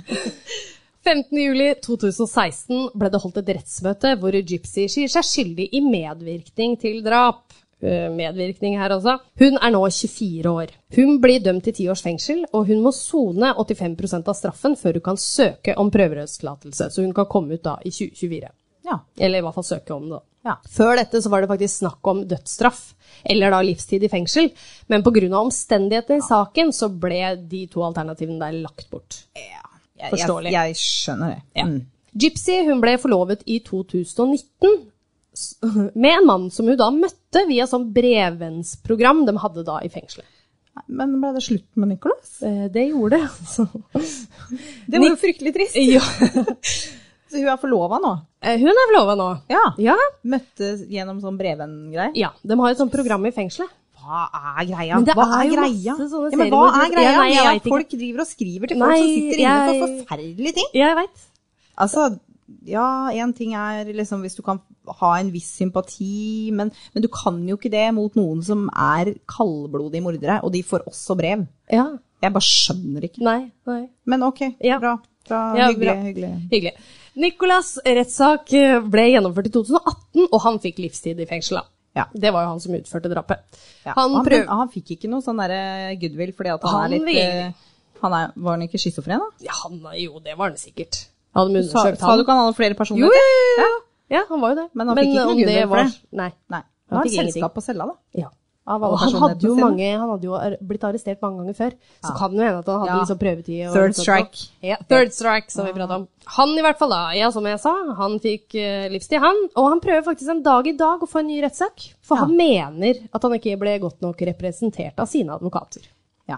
15. juli 2016 ble det holdt et rettsmøte hvor Gypsy sier seg skyldig i medvirkning til drap. Eh, Medvirkning her altså. Hun er nå 24 år. Hun blir dømt til ti års fengsel, og hun må sone 85 av straffen før hun kan søke om prøverørstillatelse. Så hun kan komme ut da i 2024.
Ja.
Eller i hvert fall søke om det. da.
Ja.
Før dette så var det faktisk snakk om dødsstraff, eller da livstid i fengsel. Men pga. omstendighetene i saken så ble de to alternativene der lagt bort.
Jeg,
Forståelig.
Jeg, jeg skjønner det.
Ja.
Mm.
Gypsy hun ble forlovet i 2019 s- med en mann som hun da møtte via sånn brevvennsprogram de hadde da i fengselet.
Nei, Men ble det slutt med Nicolas?
Eh, Det gjorde det, altså.
Det var jo fryktelig trist.
Ja.
Så hun er forlova nå?
Eh, Hun er forlova nå.
Ja.
Ja.
Møttes gjennom sånn Breven-greie?
ja. De har jo et sånt program i fengselet.
Hva er greia?
Men det
hva
er
er
jo
greia?
masse sånne
Ja, men hva
serier
er
hvor du-
greia
Ja, nei, jeg
med
vet
at
ikke.
folk driver og skriver til folk som
Nei,
sitter inne for
jeg-
forferdelige ting?
Jeg veit.
Altså, ja, én ting er liksom hvis du kan ha en viss sympati, men, men du kan jo ikke det mot noen som er kaldblodige mordere, og de får også brev.
Ja.
Jeg bare skjønner ikke.
Nei. Nei.
Men ok,
Ja.
bra. bra.
Ja,
hyggelig.
bra.
hyggelig.
Hyggelig. Nicolas' rettssak eh, ble gjennomført i 2018, og han fikk livstid i fengsel. da.
Ja.
Det var jo han som utførte drapet.
Ja.
Han
han,
prøv-
han fikk ikke noe sånn derre goodwill fordi at han,
Han
er litt
vil-
eh, han er, Var han ikke schizofren, da?
Ja, han, jo, det var han sikkert. Han hadde
Sa,
undersøkt
sa du
han.
ikke han hadde flere personer?
Jo, jo,
jo.
Ja, han var jo det.
Men han fikk ikke noe
om
gunnel
det
for
var-
det.
Nei.
Nei.
Han
Han har
fikk ingenting.
selskap på cella, da.
Ja.
Av
Og
alle
han hadde jo
personlighetene sine.
mange, han hadde jo ar- blitt arrestert mange ganger før, så
Ja.
kan det jo hende at han hadde
Ja.
liksom prøvetid. og-
Third strike.
Ja, third strike, som vi pratet om. Han i hvert fall, da, ja, som jeg sa, han fikk eh, livstid, han. Og han prøver faktisk en dag i dag å få en ny rettssak, for
Ja.
han mener at han ikke ble godt nok representert av sine advokater.
Ja.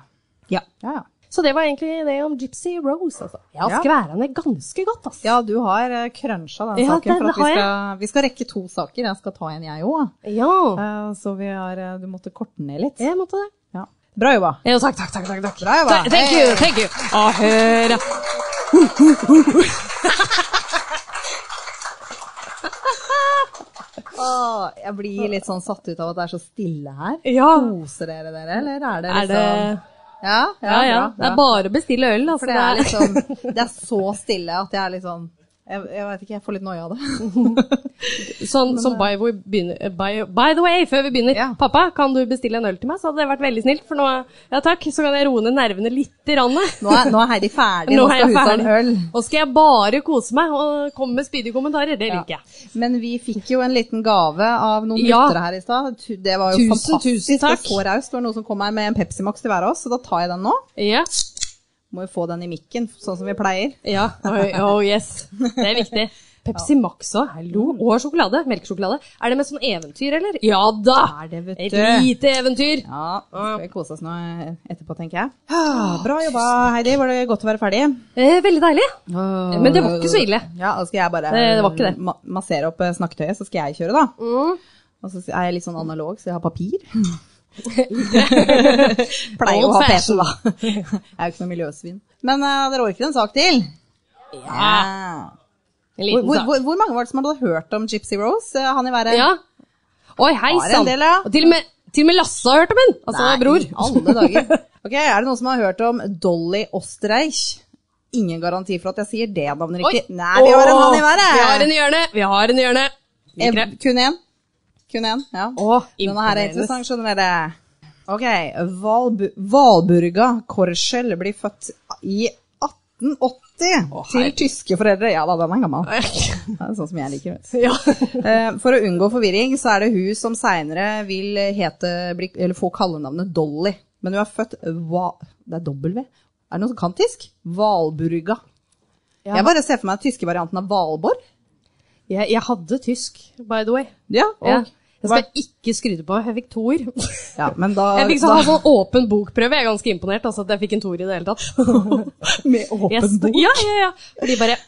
Ja. Ja, ja.
Så det var egentlig det om Gypsy Rose, altså. Jeg har
Ja.
skværa ned ganske godt, altså.
ja, du har eh, krønsja den
Ja,
saken.
den
For at vi
har jeg.
skal, vi skal rekke to saker. Jeg skal ta en, jeg òg.
Ja,
Så vi har eh, Du måtte korte den ned litt.
jeg måtte det.
Ja. Bra jobba.
Ja, takk, takk, takk. takk, takk.
Bra jobba.
Ta- Thank
Hey.
you, thank you. Å, hør.
Åh, jeg blir litt sånn satt ut av at det er så stille her.
Ja,
Koser dere dere, eller er det
er det...
liksom Ja,
Ja, ja. Det er bare å bestille øl, altså.
For det er liksom Det er så stille at jeg er litt sånn jeg, jeg vet ikke, jeg får litt noia av det.
Sånn som by, we begynner, eh, by, by the way, før vi begynner.
eh, Ja.
Pappa, kan du bestille en øl til meg? Så hadde det vært veldig snilt. For nå, ja takk, så kan jeg roe ned nervene litt. Rann.
Nå er, nå er Heidi ferdig, nå,
Nå er jeg
skal hun ta en
ferdig.
øl.
Og skal jeg bare kose meg og komme med spydige kommentarer. Det liker jeg.
Men vi fikk jo en liten gave av noen
Ja.
lyttere her i stad. Tu- Det var jo
Tusen,
fantastisk.
tusen takk.
Og så raust. Det var noen som kom her med en Pepsi Max til hver av oss, så da tar jeg den nå.
Ja.
Må jo få den i mikken, sånn som vi pleier.
ja. Oi, Oh, yes. Det er viktig. Pepsi Max òg. Hallo. Og sjokolade. Melkesjokolade. Er det med sånn eventyr, eller? Ja da!
Er det, vet
Et
du.
lite eventyr.
Ja, nå skal vi kose oss nå etterpå, tenker jeg. Ah, Bra jobba, Heidi. Var det godt å være ferdig?
Eh, veldig deilig. Men det var ikke så ille.
Ja, da skal jeg bare
Det- det var ikke det.
ma- massere opp eh, snakketøyet, så skal jeg kjøre, da.
Mm.
Og så er jeg litt sånn analog, så jeg har papir. Pleier å
Old
ha PC,
fashion.
da. jeg er jo ikke noe miljøsvin. Men eh, dere orker en sak til?
Ja.
Hvor,
En liten
hvor,
sak.
hvor, hvor mange var det som hadde hørt om Gypsy Rose? Eh, Han i været?
Ja. Oi, hei
Har en
sann.
del, ja.
Og til og med, til og med Lasse har hørt om den! Altså
Nei,
bror.
alle dager. Ok, Er det noen som har hørt om Dolly Osterreich? Ingen garanti for at jeg sier det navnet
Oi.
riktig. Nei, vi har en
Åh,
han i været!
Vi har en i hjørnet! Vi har en i hjørnet. Liker det.
Eh, Kun én? Kun én, ja.
Åh,
Denne her er
imponerende.
interessant, skjønner dere. Ok, Valbu Valburga Korschel blir født i 1880
Å,
til
herregud.
tyske foreldre. Ja da, den er gammel. Det er sånn som jeg liker. Vet. du.
Ja.
Eh, For å unngå forvirring, så er det hun som seinere vil hete, bli, eller få kallenavnet Dolly. Men hun er født Va... Det er W. Er det noen som kan tysk? Valburga.
Ja.
Jeg bare ser for meg den tyske varianten av Valborg.
Jeg, jeg hadde tysk, by the way.
Ja, og,
Ja. Jeg
Hva-
skal ikke skryte på, jeg fikk toer.
ja, men da,
Jeg fikk sånn, ha sånn åpen bokprøve, jeg er ganske imponert altså, at jeg fikk en toer i det hele tatt.
da Med
Jeg
åpen
sto-
bok.
Ja, ja, ja. Og de bare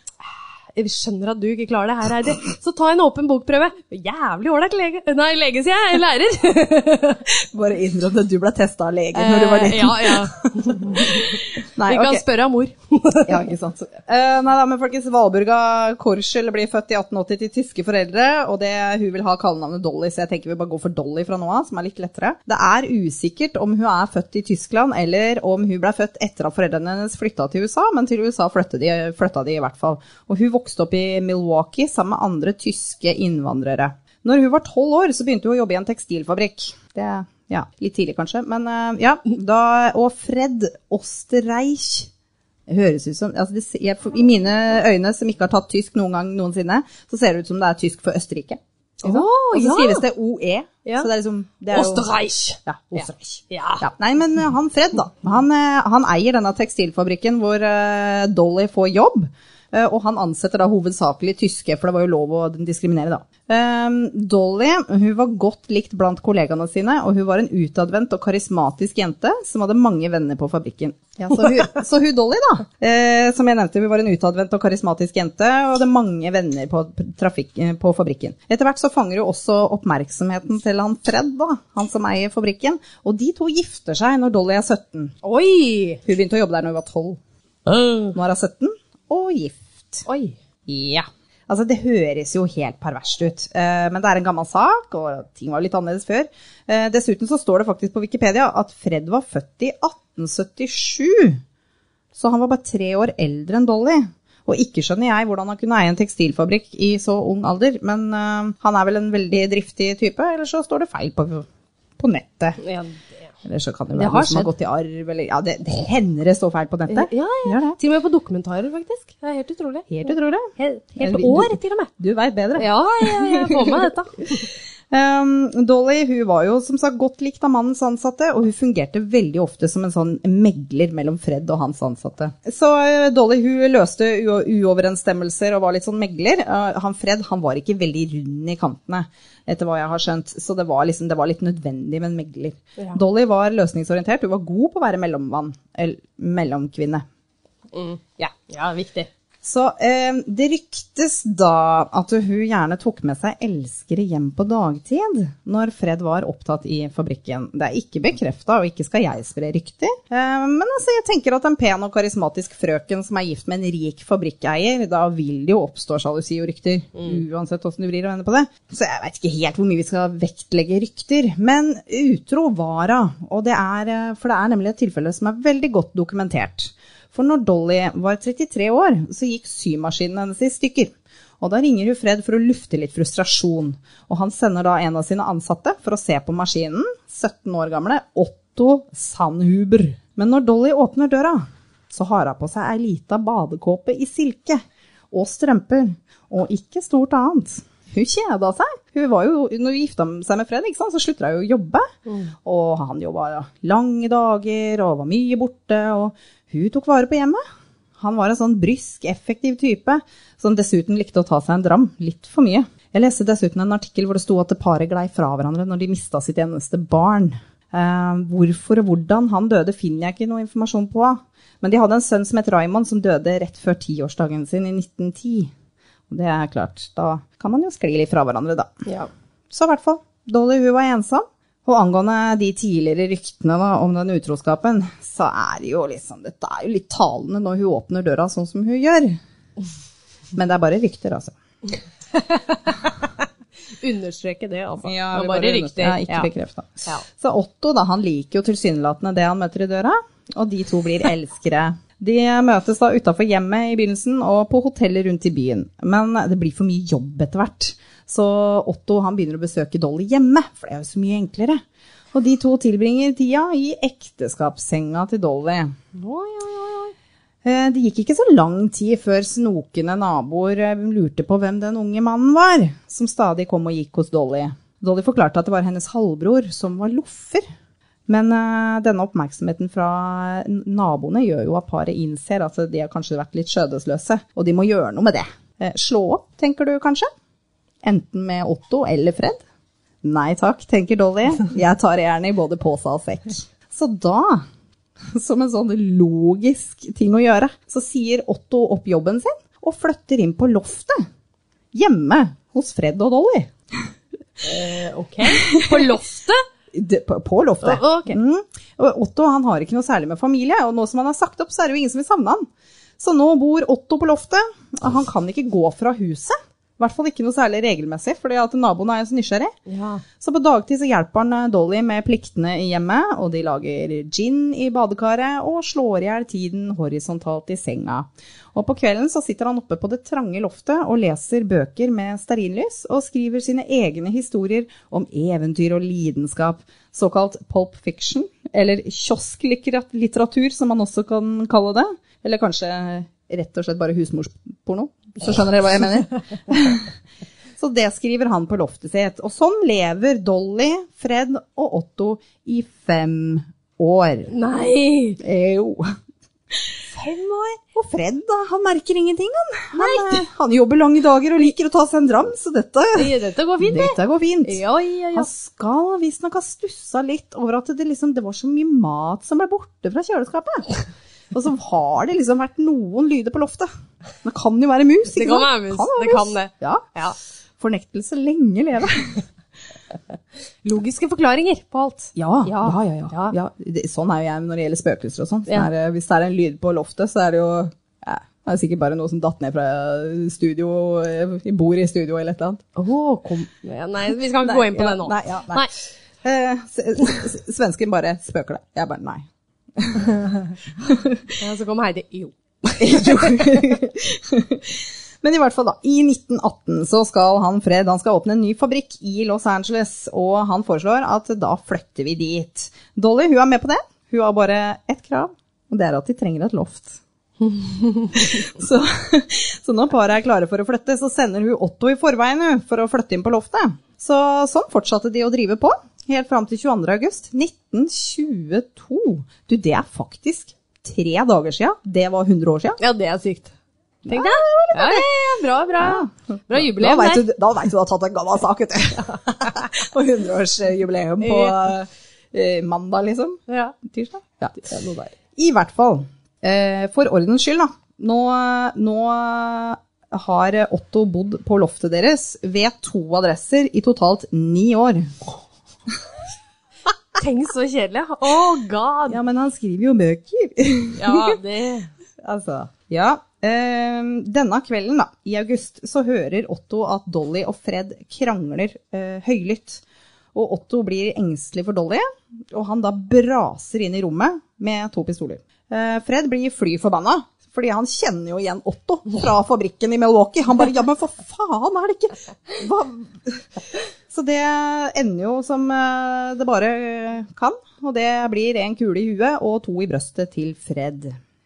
Vi skjønner at du ikke klarer det her, Heidi. Så ta en åpen bokprøve. Jævlig ålreit lege. Nei, lege, sier jeg. Lærer.
Bare innrøm at du ble testa av legen når du var
Eh,
liten.
Ja, ja.
Nei,
Vi kan
ok.
spørre av mor.
ja, ikke sant. Eh, nei da, men folkens, Valburga Korschel blir født i 1880 til tyske foreldre, og det, hun vil ha kallenavnet Dolly, så jeg tenker vi bare går for Dolly fra nå av, som er litt lettere. Det er usikkert om hun er født i Tyskland, eller om hun ble født etter at foreldrene hennes flytta til USA, men til USA flytta de, flytta de i hvert fall. Og hun vokste opp i Milwaukee sammen med andre tyske innvandrere. Når hun var tolv år, så begynte hun å jobbe i en tekstilfabrikk. Det ja, litt tidlig kanskje, men eh, ja. Da, og Fred Osterreich det høres ut som altså det, ser- jeg, for, I mine øyne, som ikke har tatt tysk noen gang noensinne, så ser det ut som det er tysk for Østerrike. Ikke sant?
Å,
og så
ja.
skrives det OE.
Ja.
Så det er liksom det er jo-
Osterreich.
Ja, Osterreich.
Ja.
Ja. Nei, men eh, han Fred, da. Han, eh, han eier denne tekstilfabrikken hvor eh, Dolly får jobb. eh, Og han ansetter da hovedsakelig tyske, for det var jo lov å diskriminere, da. Ehm, Dolly hun var godt likt blant kollegaene sine, og hun var en utadvendt og karismatisk jente som hadde mange venner på fabrikken. Ja, så, hun, så hun Dolly, da, eh, som jeg nevnte, hun var en utadvendt og karismatisk jente, og hadde mange venner på, trafikk, eh, på fabrikken. Etter hvert så fanger hun også oppmerksomheten til han Fred, da, han som eier fabrikken, og de to gifter seg når Dolly er 17.
Oi.
Hun begynte å jobbe der når hun var 12. Nå er hun 17 og gift.
Oi.
Ja. Altså, det høres jo helt perverst ut, eh, men det er en gammel sak, og ting var litt annerledes før. Eh, Dessuten så står det faktisk på Wikipedia at Fred var født i 1877, så han var bare tre år eldre enn Dolly. Og ikke skjønner jeg hvordan han kunne eie en tekstilfabrikk i så ung alder, men eh, han er vel en veldig driftig type, eller så står det feil på, på nettet.
Ja, det-
Eller så kan det
Det
være
har
noe som har
skjedd.
gått i arv, eller ja, det, det hender det står feil på nettet.
Ja, ja.
Gjør det.
Til og med på dokumentarer, faktisk. Det er helt utrolig.
Helt utrolig.
Helt, helt år, til og med.
Du veit bedre.
Ja, jeg, jeg får med dette.
Um, Dolly hun var jo som sagt godt likt av mannens ansatte, og hun fungerte veldig ofte som en sånn megler mellom Fred og hans ansatte. Så uh, Dolly hun løste u uoverensstemmelser og var litt sånn megler. Uh, han Fred han var ikke veldig rund i kantene, etter hva jeg har skjønt, så det var, liksom, det var litt nødvendig med en megler.
Ja.
Dolly var løsningsorientert, hun var god på å være mellommann, eller mellomkvinne. Mm.
Ja, ja viktig.
Så eh, det ryktes da at hun gjerne tok med seg elskere hjem på dagtid når Fred var opptatt i fabrikken. Det er ikke bekrefta, og ikke skal jeg spre rykter. Eh, men altså, jeg tenker at en pen og karismatisk frøken som er gift med en rik fabrikkeier, da vil det jo oppstå sjalusi og rykter. Uansett åssen du vrir og vender på det. Så jeg veit ikke helt hvor mye vi skal vektlegge rykter. Men utro var hun, og det er, eh, for det er nemlig et tilfelle som er veldig godt dokumentert. For når Dolly var 33 år, så gikk symaskinen hennes i stykker. Og da ringer hun Fred for å lufte litt frustrasjon. Og han sender da en av sine ansatte for å se på maskinen, 17 år gamle Otto Sandhuber. Men når Dolly åpner døra, så har hun på seg ei lita badekåpe i silke. Og strømper. Og ikke stort annet. Hun kjeda seg. Hun var jo, når hun gifta seg med Fred, ikke sant, så slutta hun jo å jobbe. Og han jobba lange dager og var mye borte. Og hun tok vare på hjemmet. Han var en sånn brysk, effektiv type, som dessuten likte å ta seg en dram. Litt for mye. Jeg leste dessuten en artikkel hvor det sto at det paret glei fra hverandre når de mista sitt eneste barn. Eh, hvorfor og hvordan han døde, finner jeg ikke noe informasjon på. Men de hadde en sønn som het Raymond, som døde rett før tiårsdagen sin i 1910. Og det er klart, da kan man jo skli litt fra hverandre, da.
Ja.
Så i hvert fall, Dolly hun var ensom. Og angående de tidligere ryktene da, om den utroskapen, så er det jo liksom, dette er jo litt talende når hun åpner døra sånn som hun gjør. Men det er bare rykter, altså.
Understreke det, altså.
Ja,
Og
vi
bare
bare
rykter.
Ja, ikke
Ja.
bekrefta.
Ja.
Så Otto da, han liker jo tilsynelatende det han møter i døra, og de to blir elskere. De møtes da utafor hjemmet i begynnelsen og på hoteller rundt i byen. Men det blir for mye jobb etter hvert, så Otto han begynner å besøke Dolly hjemme, for det er jo så mye enklere. Og de to tilbringer tida i ekteskapssenga til Dolly.
Oi, oi, oi, oi.
Eh, Det gikk ikke så lang tid før snokende naboer eh, lurte på hvem den unge mannen var, som stadig kom og gikk hos Dolly. Dolly forklarte at det var hennes halvbror, som var loffer. Men eh, denne oppmerksomheten fra n- naboene gjør jo at paret innser at de har kanskje vært litt skjødesløse, og de må gjøre noe med det. Eh, slå opp, tenker du kanskje? Enten med Otto eller Fred? Nei takk, tenker Dolly. Jeg tar gjerne i både pose og sekk. Så da, som en sånn logisk ting å gjøre, så sier Otto opp jobben sin og flytter inn på loftet hjemme hos Fred og Dolly.
Ok. På loftet?
Det- På, på loftet.
Å, ok.
Mm. Og Otto han har ikke noe særlig med familie, og nå som han har sagt opp, så er det jo ingen som vil savne han. Så nå bor Otto på loftet. og Han kan ikke gå fra huset. I hvert fall ikke noe særlig regelmessig, fordi at naboen er jo så nysgjerrig.
Ja.
Så på dagtid så hjelper han eh, Dolly med pliktene i hjemmet, og de lager gin i badekaret og slår i hjel tiden horisontalt i senga. Og på kvelden så sitter han oppe på det trange loftet og leser bøker med stearinlys, og skriver sine egne historier om eventyr og lidenskap, såkalt pulp fiction, eller kiosklitteratur som man også kan kalle det, eller kanskje rett og slett bare husmorsporno, så skjønner dere hva jeg mener. Så det skriver han på loftet sitt. Og sånn lever Dolly, Fred og Otto i fem år.
Nei!
Eh, Jo.
Fem år?
Og Fred, da, han merker ingenting, han. Han, eh, han jobber lange dager og liker å ta seg en dram, så dette,
Dette går fint, det.
dette går fint.
Ja, ja, ja.
Han skal visstnok ha stussa litt over at det, liksom, det var så mye mat som ble borte fra kjøleskapet. Og så har det liksom vært noen lyder på loftet. Det kan jo være mus,
Det
ikke
kan
sant?
være mus, det kan det.
Ja.
ja.
Fornektelse lenge leve.
Logiske forklaringer på alt.
Ja, ja,
Ja.
ja. ja, ja.
Ja.
det, sånn er jo jeg når det gjelder spøkelser og sånn. Sånn
Ja.
er det- Hvis det er en lyd på loftet, så er det jo ja, det er sikkert bare noe som datt ned fra studio, eh, bord i studio eller et eller annet.
Åh, kom. Nei, vi skal ikke gå inn på
ja,
det nå.
Nei, ja, nei. Eh, s- s- s- svensken bare spøker det. Jeg bare nei.
Ja, så kom Heidi. Jo.
Men i hvert fall da, i 1918 så skal han Fred, han skal åpne en ny fabrikk i Los Angeles, og han foreslår at da flytter vi dit. Dolly, hun er med på det. Hun har bare ett krav, og det er at de trenger et loft. så, så når paret er klare for å flytte, så sender hun Otto i forveien hun, for å flytte inn på loftet. Så sånn fortsatte de å drive på, helt fram til 22. august 1922. Du, det er faktisk tre dager siden. Det var 100 år siden.
Ja, det er sykt. Tenk deg. Ja, ja, ja, bra, bra. Bra
Da
jubileum
vet
der.
du, da vet du du har tatt en gammel sak, vet du. Og hundreårsjubileum på eh, mandag, liksom.
Ja.
Tirsdag? Ja.
Ja, noe der.
I hvert fall. Eh, for ordens skyld, da. Nå, nå har Otto bodd på loftet deres ved to adresser i totalt ni år.
Tenk så kjedelig. Oh god.
Ja, men han skriver jo bøker.
Ja, det...
Altså, ja. ehm, denne kvelden, da, i august, så hører Otto at Dolly og Fred krangler eh, høylytt. Og Otto blir engstelig for Dolly, og han da braser inn i rommet med to pistoler. Eh, Fred blir fly forbanna, fordi han kjenner jo igjen Otto fra fabrikken i Milwaukee. Han bare 'ja, men for faen, er det ikke Hva? Så det ender jo som eh, det bare eh, kan, og det blir en kule i huet og to i brøstet til Fred.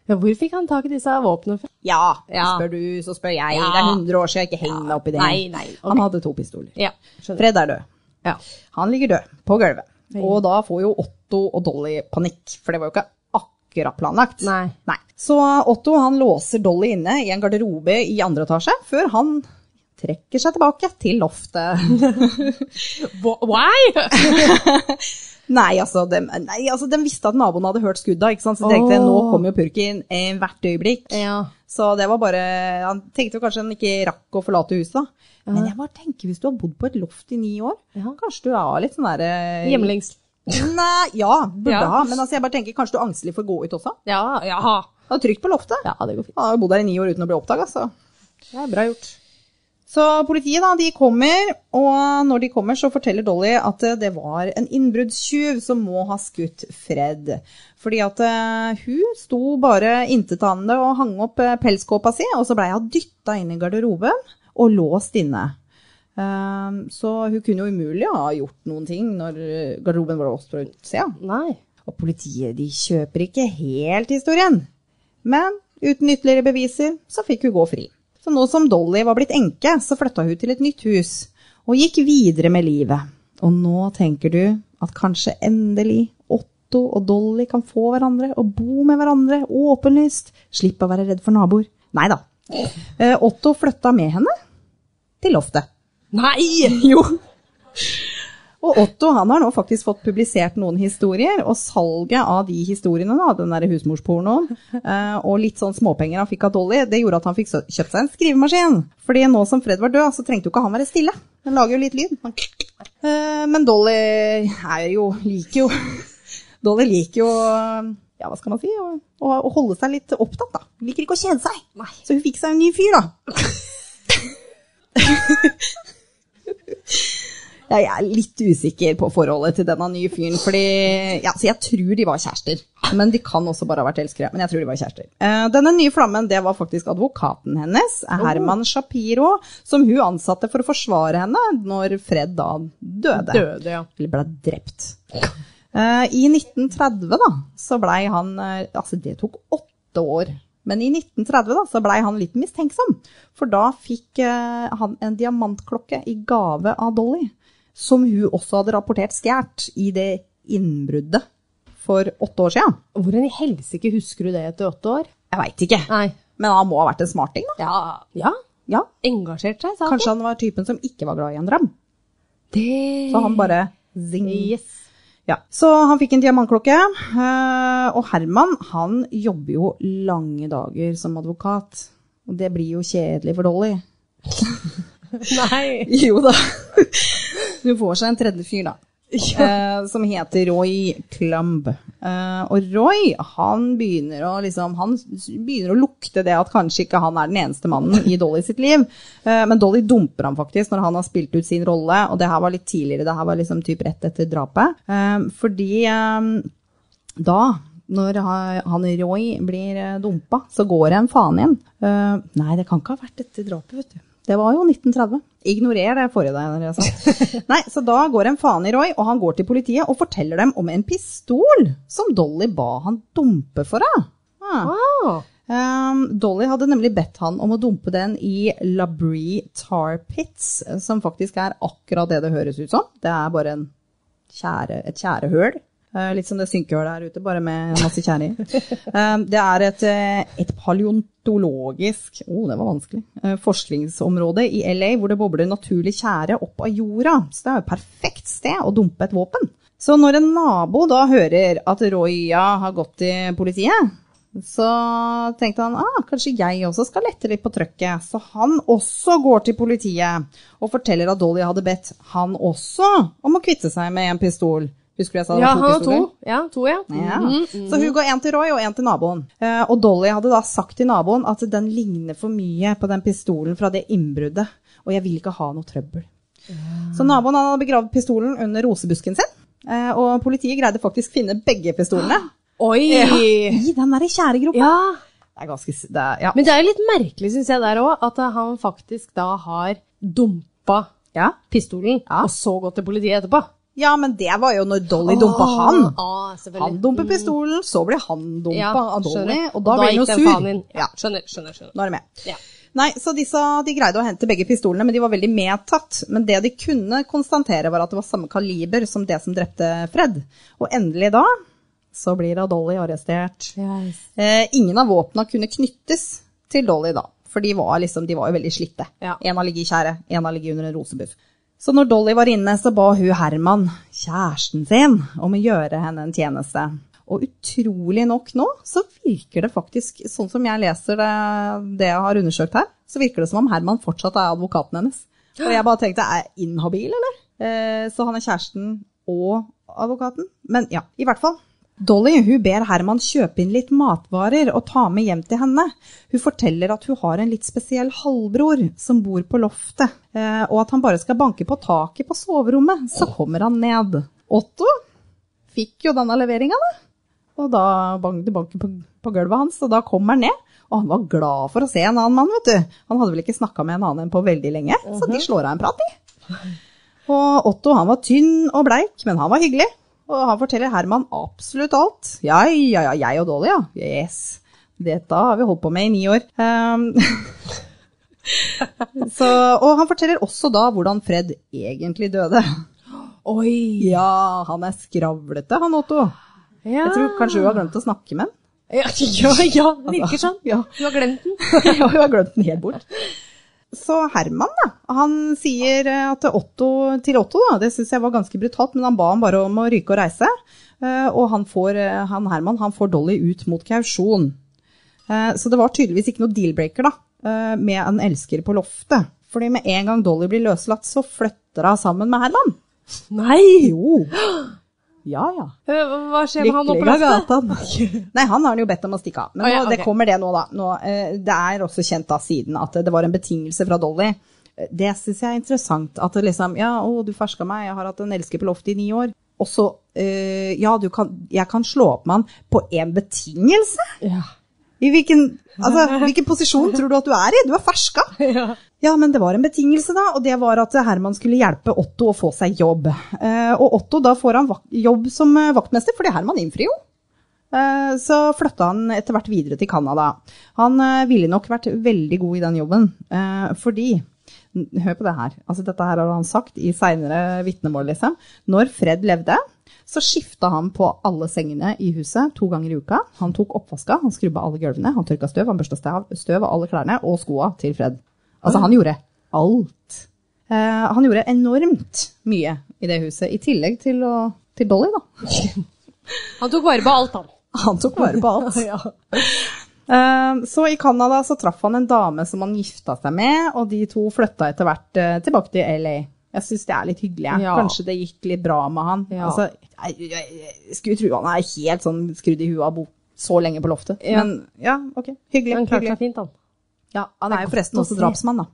Ja, hvor fikk han tak i disse våpnene fra?
Ja,
Ja.
spør du, så spør jeg.
Ja.
Det er 100 år siden, jeg ikke heng meg opp i det.
Nei, nei, ok.
Han hadde to pistoler.
Ja, skjønner.
Fred er død.
Ja.
Han ligger død på gulvet. Og da får jo Otto og Dolly panikk, for det var jo ikke akkurat planlagt.
Nei.
Så Otto han låser Dolly inne i en garderobe i andre etasje, før han trekker seg tilbake til loftet.
Wh- Why?
Nei, altså, de, nei, altså, de visste at naboen hadde hørt skudda, ikke sant? så de tenkte
Åh.
nå kommer jo purken eh, hvert øyeblikk.
Ja.
Så det var bare Han tenkte jo kanskje han ikke rakk å forlate huset, da. Men jeg bare tenker, hvis du har bodd på et loft i ni år,
Ja.
kanskje du er litt sånn derre
Hjemlengst.
Nei, ja, burde
Ja.
ha. Men altså, jeg bare tenker, kanskje du er angstelig for å gå ut også?
Ja, ja.
Det er trygt på loftet.
Ja, det går fint.
Han har jo bodd her i ni år uten å bli oppdaga, så
Det er bra gjort.
Så politiet da, de kommer, og når de kommer så forteller Dolly at eh, det var en innbruddstyv som må ha skutt Fred. Fordi at eh, hun sto bare intetanende og hang opp eh, pelskåpa si, og så blei hun dytta inn i garderoben og låst inne. Ehm, så hun kunne jo umulig ha gjort noen ting når eh, garderoben var låst fra utsida.
Nei.
Og politiet de kjøper ikke helt historien. Men uten ytterligere beviser så fikk hun gå fri. Så nå som Dolly var blitt enke, så flytta hun til et nytt hus og gikk videre med livet. Og nå tenker du at kanskje endelig Otto og Dolly kan få hverandre og bo med hverandre åpenlyst. Slippe å være redd for naboer. Nei da. Eh, Otto flytta med henne til loftet.
Nei!
Jo. Og Otto han har nå faktisk fått publisert noen historier, og salget av de historiene, da, den der husmorspornoen, eh, og litt sånn småpenger han fikk av Dolly, det gjorde at han fikk så- kjøpt seg en skrivemaskin. Fordi nå som Fred var død, så trengte jo ikke han være stille. Den lager jo litt lyd. Han- Eh, Men Dolly er jo, liker jo Dolly liker jo ja, hva skal man si, å, å, å holde seg litt opptatt, da. Hun liker ikke å kjede seg.
Nei.
Så hun fikk seg en ny fyr, da. Ja, jeg er litt usikker på forholdet til denne nye fyren, fordi ja, så jeg tror de var kjærester. Men de kan også bare ha vært elskere. Men jeg tror de var kjærester. Eh, denne nye flammen, det var faktisk advokaten hennes, Herman Shapiro, som hun ansatte for å forsvare henne når Fred da døde
Døde, ja.
eller ble drept. Eh, I 1930 da, så blei han eh, Altså, det tok åtte år. Men i 1930 da, så blei han litt mistenksom. For da fikk eh, han en diamantklokke i gave av Dolly, som hun også hadde rapportert stjålet i det innbruddet for åtte år sia.
Hvordan i helsike husker du det etter åtte år?
Jeg veit ikke.
Nei.
Men han må ha vært en smarting, da.
Ja. ja.
Ja,
Engasjert seg, sa han.
Kanskje han var typen som ikke var glad i en dram.
Det
Så han bare zing.
Yes.
Ja, så han fikk en diamantklokke, eh, og Herman han jobber jo lange dager som advokat. Og det blir jo kjedelig for Dolly.
Nei.
Jo da. Hun får seg en tredje fyr, da. eh, som heter Roy Klumb. Eh, og Roy han begynner, å, liksom, han s- begynner å lukte det at kanskje ikke han er den eneste mannen i Dolly sitt liv. Eh, men Dolly dumper ham faktisk når han har spilt ut sin rolle, og det her var litt tidligere. Det her var liksom typ rett etter drapet. Eh, fordi eh, da, når ha- han Roy blir eh, dumpa, så går det en faen igjen. Eh, nei, det kan ikke ha vært dette drapet, vet du. Det var jo 1930. Ignorer det forrige der. jeg sa. Nei, så da går en faen i Roy, og han går til politiet og forteller dem om en pistol som Dolly ba han dumpe for henne. Ah.
Ah.
Um, Dolly hadde nemlig bedt han om å dumpe den i Labrie Tar Pits, som faktisk er akkurat det det høres ut som. Det er bare en tjære, et tjærehøl. Eh, litt som det synkehølet her ute, bare med masse tjære i. Um, det er et, eh, et paleontologisk oh, det var vanskelig, eh, forskningsområde i LA hvor det bobler naturlig tjære opp av jorda. Så det er jo et perfekt sted å dumpe et våpen. Så når en nabo da hører at Roya har gått til politiet, så tenkte han ah, kanskje jeg også skal lette litt på trøkket. Så han også går til politiet og forteller at Dolly hadde bedt han også om å kvitte seg med en pistol. Husker du jeg sa det
Ja,
var
han har to.
pistoler?
Ja, to, ja.
Ja.
Mhm.
Så hun går én til Roy og én til naboen. Eh, og Dolly hadde da sagt til naboen at den ligner for mye på den pistolen fra det innbruddet, og jeg vil ikke ha noe trøbbel. Så naboen han hadde begravd pistolen under rosebusken sin, eh, og politiet greide faktisk finne begge pistolene
Oi! Ja.
i den derre tjæregropa. Det er ganske s- det er, ja.
Men det er jo litt merkelig, syns jeg, der òg, at eh, han faktisk da har dumpa
ja.
pistolen,
Ja.
og så gått til politiet etterpå.
Ja, men det var jo når Dolly dumpa han.
Ah, selvfølgelig.
Han dumper pistolen, så blir han dumpa
Ja,
av Dolly,
skjønner.
Mm. og da blir han jo
gikk den faen
sur.
inn. Ja,
Ja,
skjønner, skjønner, skjønner.
nå er det med.
Ja.
Nei, så disse, de greide å hente begge pistolene, men de var veldig medtatt. Men det de kunne konstatere var at det var samme kaliber som det som drepte Fred. Og endelig da, så blir da Dolly arrestert. Eh, ingen av våpna kunne knyttes til Dolly da, for de var, liksom, de var jo veldig slitte.
Ja.
En har ligget i tjære, en har ligget under en rosebuff. Så når Dolly var inne, så ba hun Herman, kjæresten sin, om å gjøre henne en tjeneste. Og utrolig nok nå, så virker det faktisk, sånn som jeg leser det, det jeg har undersøkt her, så virker det som om Herman fortsatt er advokaten hennes. Og jeg bare tenkte, er jeg inhabil, eller? Eh, så han er kjæresten og advokaten. Men ja, i hvert fall. Dolly hun ber Herman kjøpe inn litt matvarer og ta med hjem til henne. Hun forteller at hun har en litt spesiell halvbror som bor på loftet, eh, og at han bare skal banke på taket på soverommet, så kommer han ned. Otto fikk jo denne leveringa, da. Og da bang, det banket på, på gulvet hans, og da kom han ned. Og han var glad for å se en annen mann, vet du. Han hadde vel ikke snakka med en annen enn på veldig lenge, så de slår av en prat, de. Og Otto han var tynn og bleik, men han var hyggelig. Og han forteller Herman absolutt alt. Ja, ja, ja, jeg og Dolly, ja. Yes. Dette har vi holdt på med i ni år. Ehm, så, og han forteller også da hvordan Fred egentlig døde.
Oi!
Ja, han er skravlete, han Otto.
Ja.
Jeg tror kanskje hun har glemt å snakke med han.
Ja, ja, ja, det virker sånn.
Ja.
Du har glemt den.
Ja, hun har glemt den helt bort. Så Herman da, han sier eh, at Otto, til Otto, da, det syns jeg var ganske brutalt, men han ba han bare om å ryke og reise. Eh, Og han, får, eh, han Herman han får Dolly ut mot kausjon. Eh, Så det var tydeligvis ikke noe deal-breaker da, eh, med en elsker på loftet. Fordi med en gang Dolly blir løslatt, så flytter hun sammen med Herman.
Nei!
Jo. Ja, ja.
Hva skjer med han oppe på
Lykkelig av
lasset?
gatan. Nei, han har han jo bedt om å stikke av. Men
Å, ja,
nå,
ok.
det kommer det nå, da. Nå, eh, det er også kjent da siden at det var en betingelse fra Dolly. Eh, Det syns jeg er interessant. At det liksom Ja, å, du ferska meg, jeg har hatt en elsker på loftet i ni år. Og så eh, Ja, du kan, jeg kan slå opp med han på én betingelse?
Ja.
I hvilken, altså, hvilken posisjon tror du at du er i? Du er ferska.
Ja.
Ja, men det var en betingelse, da, og det var at Herman skulle hjelpe Otto å få seg jobb. Eh, og Otto, da får han vak jobb som eh, vaktmester, fordi Herman innfrir jo. Eh, så flytta han etter hvert videre til Canada. Han eh, ville nok vært veldig god i den jobben, eh, fordi n- Hør på det her. Altså, dette her har han sagt i seinere vitnemål, liksom. Når Fred levde, så skifta han på alle sengene i huset to ganger i uka. Han tok oppvaska, han skrubba alle gulvene, han tørka støv, han børsta stav- støv av alle klærne og skoa til Fred. Altså, han gjorde alt. Eh, han gjorde enormt mye i det huset, i tillegg til, å, til Dolly, da.
Han tok vare på alt, han.
Han tok vare på alt. Eh, Så i Canada så traff han en dame som han gifta seg med, og de to flytta etter hvert eh, tilbake til LA. Jeg syns det er litt hyggelig. jeg.
Ja.
Kanskje det gikk litt bra med han.
Ja.
Altså, jeg, jeg, jeg skulle tro han er helt sånn skrudd i huet av å bo så lenge på loftet.
Ja.
Men ja, ok. Hyggelig.
Han klarte
hyggelig.
seg fint, han.
Ja, han er jo forresten
å
også
se.
drapsmann, da.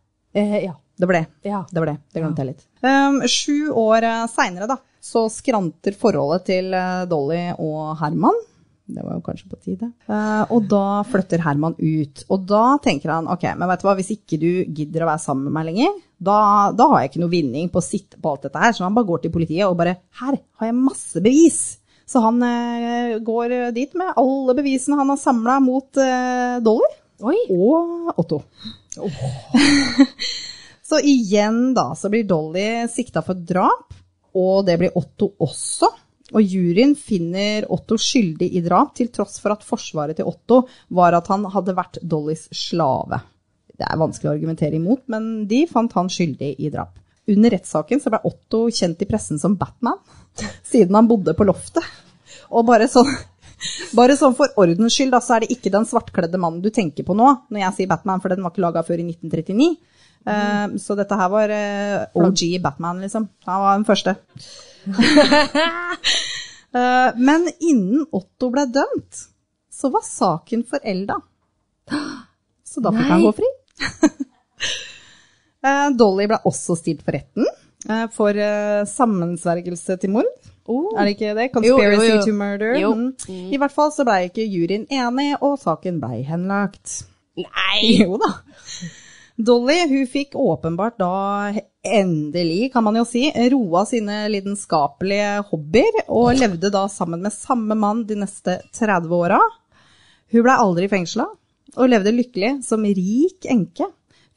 Eh, ja.
Det ble.
Ja.
Det var det. Det glemte jeg litt. Um, sju år uh, seinere, da, så skranter forholdet til eh, Dolly og Herman. Det var jo kanskje på tide. Eh, og da flytter Herman ut. Og da tenker han ok, men vet du hva, hvis ikke du gidder å være sammen med meg lenger, da, da har jeg ikke noe vinning på å sitte på alt dette her. Så han bare går til politiet og bare Her har jeg masse bevis! Så han eh, går dit med alle bevisene han har samla mot eh, Dolly
Oi.
og Otto. så igjen da, så blir Dolly sikta for drap, og det blir Otto også. Og juryen finner Otto skyldig i drap, til tross for at forsvaret til Otto var at han hadde vært Dollys slave. Det er vanskelig å argumentere imot, men de fant han skyldig i drap. Under rettssaken så ble Otto kjent i pressen som Batman, siden han bodde på loftet. Og bare sånn, bare sånn for ordens skyld, da, så er det ikke den svartkledde mannen du tenker på nå, når jeg sier Batman, for den var ikke laga før i 1939. Eh, så dette her var eh, OG Batman, liksom. Han var den første. Eh, men innen Otto ble dømt, så var saken forelda. Så da fikk
Nei.
han gå fri. Eh, Dolly ble også stilt for retten eh, for eh, sammensvergelse til mord.
Oh.
Er det ikke det?
jo, jo.
Conspiracy to murder.
Jo.
Mm. I hvert fall så blei ikke juryen enig, og saken blei henlagt.
Nei!
Jo da. Dolly hun fikk åpenbart da endelig, kan man jo si, roa sine lidenskapelige hobbyer, og levde da sammen med samme mann de neste 30 åra. Hun blei aldri fengsla, og levde lykkelig som rik enke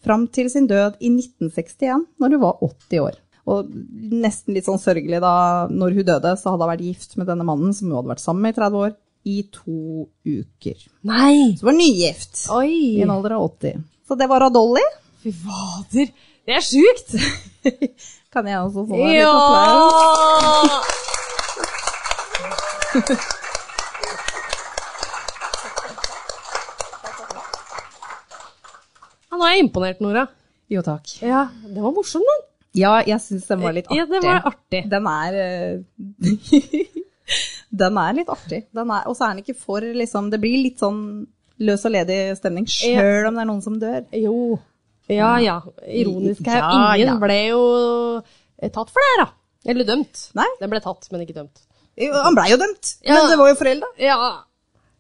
fram til sin død i 1961, når hun var 80 år. Og nesten litt sånn sørgelig da, når hun døde, så hadde hun vært gift med denne mannen som hun hadde vært sammen med i 30 år, i to uker.
Nei!
Så hun var nygift. I
Oi!
en alder av 80. Så det var av Dolly.
Fy fader! Det er sjukt!
Kan jeg også få en liten applaus?
Ja! Ja, nå er jeg imponert, Nora.
Jo, takk.
Ja, Den var morsom, den.
Ja, jeg syns den var litt artig.
Ja, den var artig.
Den er eh, Den er litt artig. Den er, og så er den ikke for liksom Det blir litt sånn løs og ledig stemning, sjøl om det er noen som dør.
Jo. Ja ja. Ironisk her.
Ja, ja.
Ingen ble jo eh, tatt for det her, da. Eller dømt.
Nei.
Den ble tatt, men ikke dømt.
Jo, Han blei jo dømt,
Ja.
men det var jo forelda.
Ja,